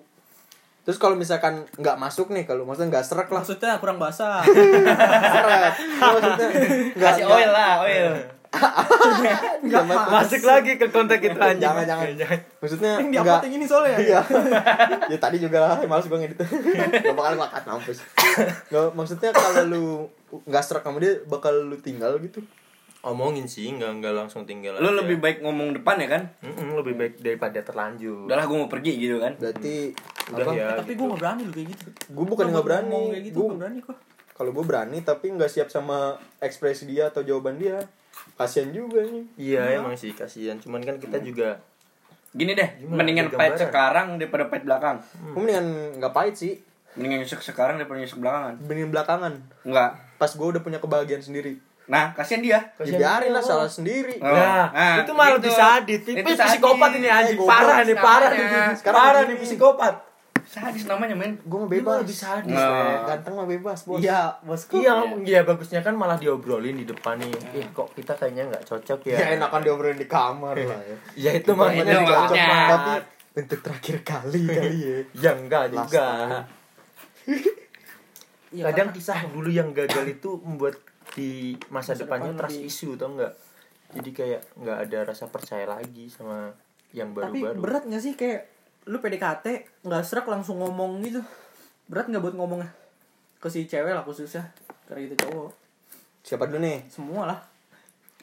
Terus kalau misalkan nggak masuk nih, kalau maksudnya nggak serak lah,
Maksudnya kurang basah.
serak. Maksudnya nggak
kasih oil lah, oil.
nggak masuk.
masuk lagi ke kontak itu anjing
Jangan jangan. Maksudnya
yang
nggak.
diapoting ini soalnya.
Iya. ya tadi juga lah, males gue ngedit. Gak bakal ngelakat mampus. Nggak, maksudnya kalau lu nggak serak sama dia, bakal lu tinggal gitu.
omongin sih nggak nggak langsung tinggal
Lo
aja.
lebih baik ngomong depan ya kan?
Mm-mm, lebih baik daripada terlanjur
Udahlah gue mau pergi gitu kan.
berarti
Udah
apa?
iya.
ya
tapi
gitu.
gue gak berani lu kayak gitu
gue bukan nggak berani
Ngomong kayak gitu
Gua-
gak berani kok
kalau gue berani tapi nggak siap sama ekspresi dia atau jawaban dia kasian juga nih
iya emang sih kasihan cuman kan kita juga
Gini deh,
Gimana?
mendingan
Ada
pahit
gambaran?
sekarang daripada pahit belakang.
Gua mendingan nggak pahit sih
Mendingan nyusuk sekarang daripada nyusuk belakangan.
benin belakangan
Enggak.
pas gue udah punya kebahagiaan sendiri
Nah, kasihan dia.
ya biarin lah salah sendiri
Oh.
Nah,
Nah,
itu malah
gitu.
lebih sadis. Tipis
Itu sadis.
psikopat ini anjing.
Eh,
parah
goblok.
nih, parah nih.
Namanya.
Sekarang
parah
begini.
nih psikopat.
Sadis namanya, men.
gue mau bebas lebih sadis
Nah.
ganteng mah bebas bos
Iya, bosku.
Iya, iya bagusnya kan malah diobrolin di depan nih. Ih, kok kita kayaknya nggak cocok ya.
ya enakan diobrolin di kamar lah ya
Ya itu makanya
Itu
nggak cocok
maksudnya.
tapi
banget.
untuk terakhir kali kali ya
Ya enggak juga.
Iya, karena-
Kadang kisah dulu yang gagal itu membuat di masa depannya
depan
trust
lebih-
issue tau enggak? Jadi kayak nggak ada rasa percaya lagi sama yang
tapi
baru-baru.
berat gak sih kayak lu PDKT nggak serak langsung ngomong gitu berat nggak buat ngomongnya ke si cewek lah khususnya karena itu cowok
siapa dulu nih
semua lah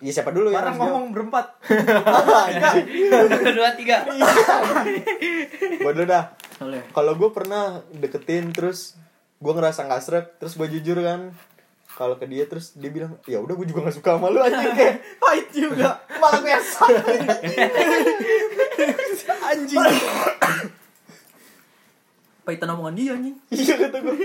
ya siapa dulu ya
barang ngomong berempat Iya,
Satu, dua, tiga.
gue dulu dah
boleh
kalau gue pernah deketin terus gue ngerasa nggak srek terus gue jujur kan kalau ke dia terus dia bilang ya udah gue juga nggak suka sama lu anjing kayak
pahit juga
malah gue yang sakit anjing
pahitan omongan dia anjing
iya kata gue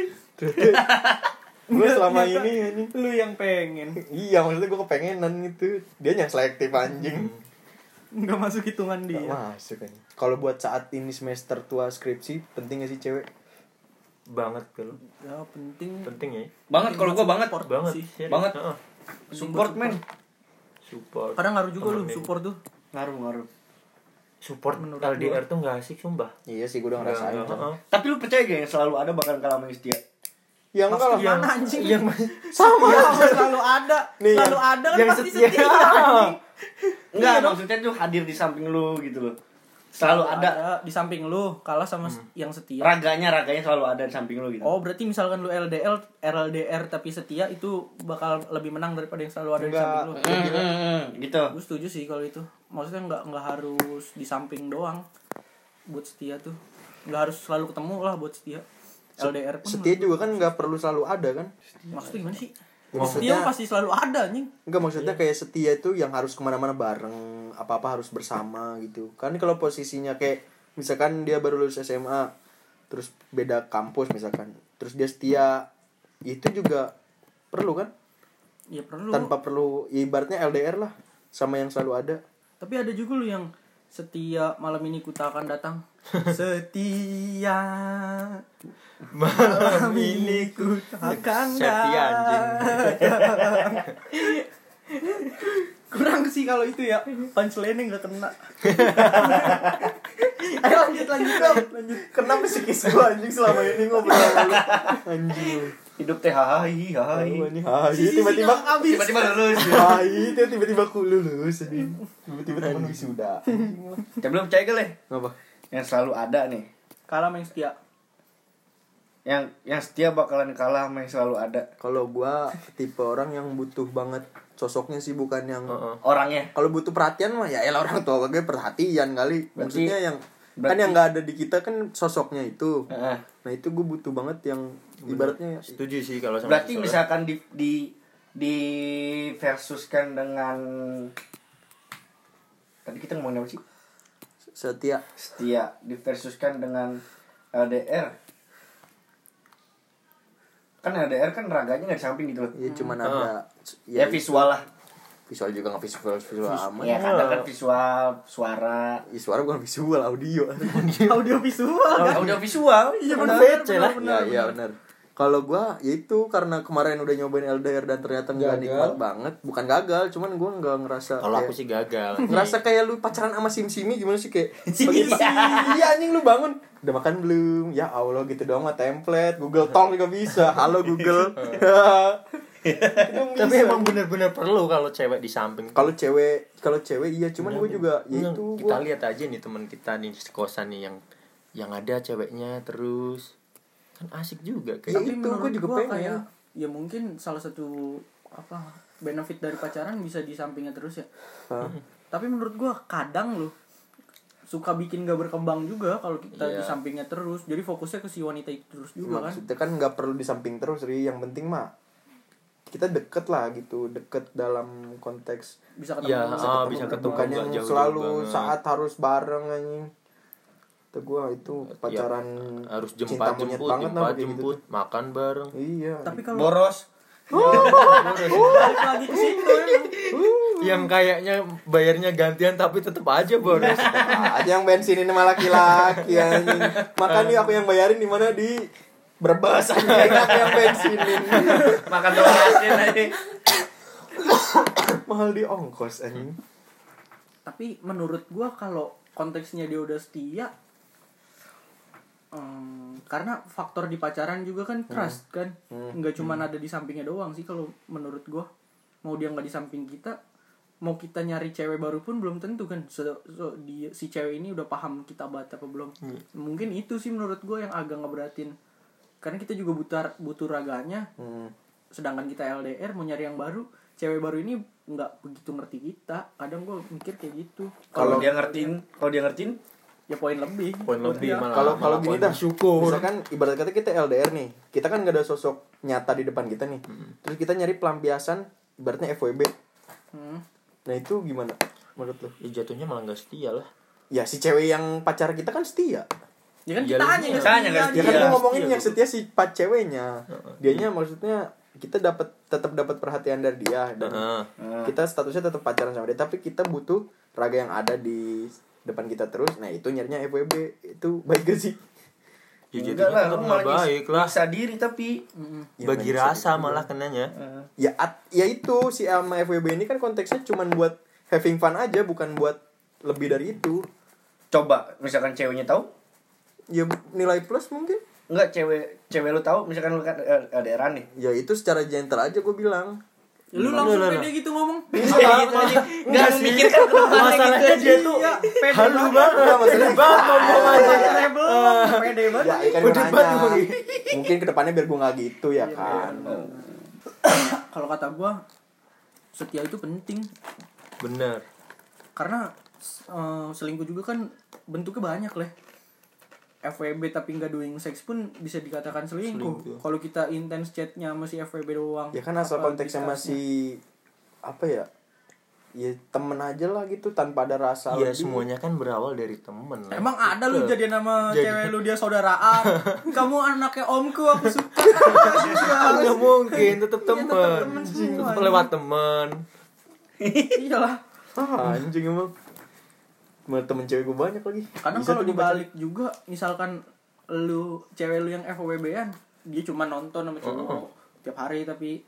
gue selama ini anjing
lu yang pengen
iya maksudnya gue kepengenan gitu dia yang selektif anjing
Hmm, nggak masuk hitungan
Gak
dia
masuk anjing. kalau buat saat ini semester tua skripsi penting gak sih cewek
Banget kalau
ya penting
penting ya.
Banget kalau gua banget.
Support
Banget.
sih.
serius.
Banget.
Heeh.
Support, men.
Support.
kadang ngaruh juga lu
Temenin.
support tuh
Ngaruh, ngaruh.
support
Menurut
LDR tuh nggak asik sumpah
iya sih gue udah ngerasain
Nggak,
Chan.
heeh.
Tapi lu percaya gak yang selalu ada bakal kalah sama yang setia?
ya enggak lah
mana anjing
yang
sama selalu ada
Nih,
selalu
yang-
ada kan
yang
pasti
setia.
setia, anjing.
Enggak,
Iya dong.
maksudnya tuh hadir di samping lu gitu loh. Selalu ada.
di samping lu kalah sama
Hmm.
s- yang setia
Raganya, raganya selalu ada di samping lu gitu.
Oh berarti misalkan lu LDL, RLDR tapi setia itu bakal lebih menang daripada yang selalu ada di
Enggak.
samping lu.
Mm, mm, mm, gitu.
Gue setuju sih kalau itu. Maksudnya nggak nggak harus di samping doang buat setia tuh. Nggak harus selalu ketemu lah buat setia. LDR pun
setia juga kan nggak perlu selalu ada kan
maksudnya gimana sih?
Maksudnya-
Setia pasti selalu ada anjing.
Enggak
Iya.
maksudnya kayak setia itu yang harus kemana-mana bareng, apa-apa harus bersama gitu. Kan kalau posisinya kayak misalkan dia baru lulus SMA, terus beda kampus misalkan, terus dia setia, itu juga perlu kan?
Ya perlu.
Tanpa perlu ya ibaratnya LDR lah sama yang selalu ada.
Tapi ada juga lu yang setia malam ini kutakan datang. setia malam ini kutakan
Setia, anjing.
datang. Kurang sih kalau itu ya punchline-nya nggak kena. Ayo lanjut lanjut lanjut. lanjut.
Kenapa sih kisah anjing selama ini ngobrol sama lu? Anjing.
Hidup teh hahai, hahai.
Oh,
Lu anjing. Hai, tiba-tiba
habis.
Tiba-tiba lulus.
Hai, dia tiba-tiba aku lulus anjing. Tiba-tiba temen wisuda. Anjing lah.
Tapi lu percaya gak leh?
Ngapa?
Yang selalu ada nih.
Kalah sama yang setia.
Yang yang setia bakalan kalah sama yang selalu ada.
Kalau gua tipe orang yang butuh banget sosoknya sih bukan yang
Heeh.
Orangnya.
kalau butuh perhatian mah ya elah orang tua gue perhatian kali.
Berarti-
Maksudnya yang kan
berarti- Ya.
yang nggak ada di kita kan sosoknya itu.
Heeh.
Nah itu gue butuh banget yang ibaratnya
setuju sih kalau sama
Berarti
Soleh.
misalkan di di di versuskan dengan tadi kita ngomongin apa sih?
setia.
Setia di versuskan dengan LDR. Kan LDR kan raganya nggak di samping gitu loh.
Iya,
Ya cuman ada
Ya,
ya,
visual lah.
visual juga nggak visual visual amat.
Ya kadang kan visual, suara.
Ih, suara bukan visual audio.
Audio visual.
Ya, udah visual.
Iya
Bener,
benar.
bener,
benar,
bener,
benar.
Iya, iya benar. Kalau gua ya itu karena kemarin udah nyobain LDR dan ternyata nggak nikmat banget. Bukan gagal, cuman gua nggak ngerasa
kalau
kayak-
aku sih gagal
ngerasa kayak lu pacaran sama sim simi gimana sih kayak pagi- iya anjing lu bangun udah makan belum ya allah gitu doang mah template Google Talk juga bisa halo Google
tapi emang bener-bener perlu kalau cewek di samping
kalau cewek kalau cewek iya cuman gue juga ya itu
kita
gua
lihat aja nih teman kita nih sekosan nih yang yang ada ceweknya terus kan asik juga
Ya,
Iya.
kayak
itu, gua juga pengen.
ya mungkin salah satu apa benefit dari pacaran bisa di sampingnya terus ya tapi menurut gua kadang loh suka bikin gak berkembang juga kalau kita
Iya.
di sampingnya terus jadi fokusnya ke si wanita itu terus juga kan
Maksudnya kan nggak perlu di samping terus, Ri. Yang penting mah kita deket lah gitu, deket dalam konteks
bisa ketemu
Iya,
bisa
ah,
ketemu.
bisa ketemu
bukan
nggak
yang
jauh-jauh
selalu
banget.
saat harus bareng anjing. Itu gua itu pacaran
Iya, harus
cinta
jempat
monyet
jemput,
banget lah,
jempat
kayak gitu.
jemput, makan bareng.
Iya.
tapi kalau
boros
balik lagi ke situ ya, emang.
Yang kayaknya bayarnya gantian tapi tetap aja boros.
aja yang bensinin sama laki-laki anjing. Makanya aku yang bayarin di mana di Brebes anjing. aku yang bensinin.
makan telur asin aja
Mahal di ongkos anjing.
tapi menurut gua kalau konteksnya dia udah setia em, karena faktor di pacaran juga kan trust kan nggak cuman ada di sampingnya doang sih kalau menurut gua mau dia nggak di samping kita mau kita nyari cewek baru pun belum tentu kan So- so, di, si cewek ini udah paham kita banget apa belum mungkin itu sih menurut gua yang agak ngeberatin karena kita juga butuh butuh raganya
Hmm.
sedangkan kita LDR mau nyari yang baru cewek baru ini nggak begitu ngerti kita kadang gue mikir kayak gitu
kalau dia ngertiin kalau dia ngertiin
ya poin lebih Iya.
Poin lebih malah.
Kalau kalau
Ah, malah
gini
poin
dah, Misalkan ibarat kata kita LDR nih, kita kan nggak ada sosok nyata di depan kita nih. Terus kita nyari pelampiasan, ibaratnya FWB.
Hmm.
Nah itu gimana menurut lo?
Ya, jatuhnya malah nggak setia lah.
Ya si cewek yang pacar kita kan setia.
ya kan
Iya,
kita
lebih.
hanya yang
Kita hanya nggak
setia,
Ya
dia
kan
Iya,
gua ngomongin
setia
yang
gitu.
setia si pacar ceweknya. Dianya maksudnya kita dapat tetap dapat perhatian dari dia dan
Heeh.
kita statusnya tetap pacaran sama dia tapi kita butuh raga yang ada di depan kita terus nah itu nyarinya FWB itu baik gak sih
Ya,
enggak
jatuhnya
lah
tetap
lu
nggak
malah
baik lah.
bisa diri tapi
Ya,
Bagi
main
rasa
sedikit
malah kenanya.
ya at- ya itu si L sama FWB ini kan konteksnya cuman buat having fun aja bukan buat lebih dari itu
coba misalkan ceweknya tahu
ya nilai plus mungkin
enggak cewek cewek lu tahu misalkan lu kan eh, LDRan nih
ya itu secara gentle aja gue bilang
Ya, lu langsung pede gitu ngomong
Iya,
enggak lu mikir kan ke depannya gitu aja.
dia tuh pede
Halu
Iya,
banget, halu banget ngomongannya.
banget Iya. pede banget
Eh.
ya kan gue nanya mungkin kedepannya biar gue nggak gitu ya kan
kalau kata gue setia itu penting
Bener.
karena eh, selingkuh juga kan bentuknya banyak lah FWB tapi nggak doing sex pun bisa dikatakan selingkuh.
Selingkuh.
Kalau kita intense chatnya sama si FWB doang.
ya kan asal
apa
konteksnya
kita-
masih apa ya ya temen aja lah gitu tanpa ada rasa
Iya
lebih.
semuanya kan berawal dari temen. lah.
Emang ada lu
Betul.
jadi nama
Jadi-
cewek lu dia saudaraan. Kamu anaknya omku aku suka.
nggak mungkin tetap
tetep
temen.
temen semua.
Tetep lewat temen.
Iyalah.
Ah, anjing emang Temen- temen cewek gue banyak lagi
Kadang
Bisa
kalau
tuh gua baca.
dibalik juga misalkan lu cewek lu yang FWB-an, dia cuma nonton sama cowok
Oh.
tiap hari tapi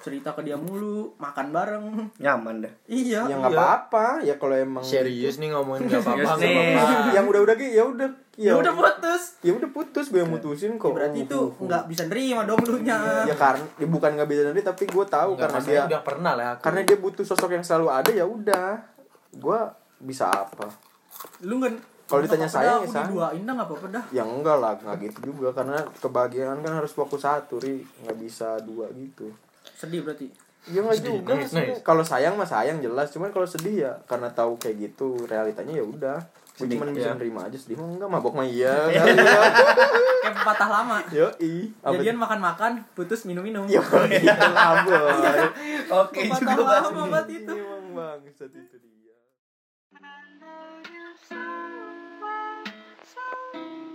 cerita ke dia mulu, makan bareng.
nyaman dah
Iya.
ya nggak
Iya.
apa-apa ya kalau emang
Serius nih ngomongin nggak apa-apa.
Serius
nggak
nih.
apa-apa.
yang udah-udah gitu ya udah
Ya udah putus.
ya udah putus gue yang mutusin kok Oh,
Berarti itu
oh, oh.
nggak bisa nerima dong lu nya.
ya karena ya bukan nggak bisa dari tapi gue tahu
Nggak,
karena
masalahnya
dia
udah pernah lah aku.
karena dia butuh sosok yang selalu ada ya udah gue bisa apa
Lu kan
Kalau ditanya sayang, ya
aku
sayang.
diduain dah nggak apa-apa dah.
ya enggak lah nggak gitu juga karena kebahagiaan kan harus fokus satu ri nggak bisa dua gitu
Sedih berarti.
ya nggak
Sedih,
juga
nangis,
maksudnya.
nangis.
kalau sayang mah sayang jelas cuman kalau sedih ya karena tahu kayak gitu realitanya ya udah gue
Sedih,
cuman bisa
ya.
nerima aja sedih mah enggak mabok mah iya kali ya
Kayak patah lama.
yo i
Jadian makan-makan, putus minum-minum.
yo i mabok
oke
Patah
juga
lama banget itu.
Emang bangsat itu dia.
I love you so much, so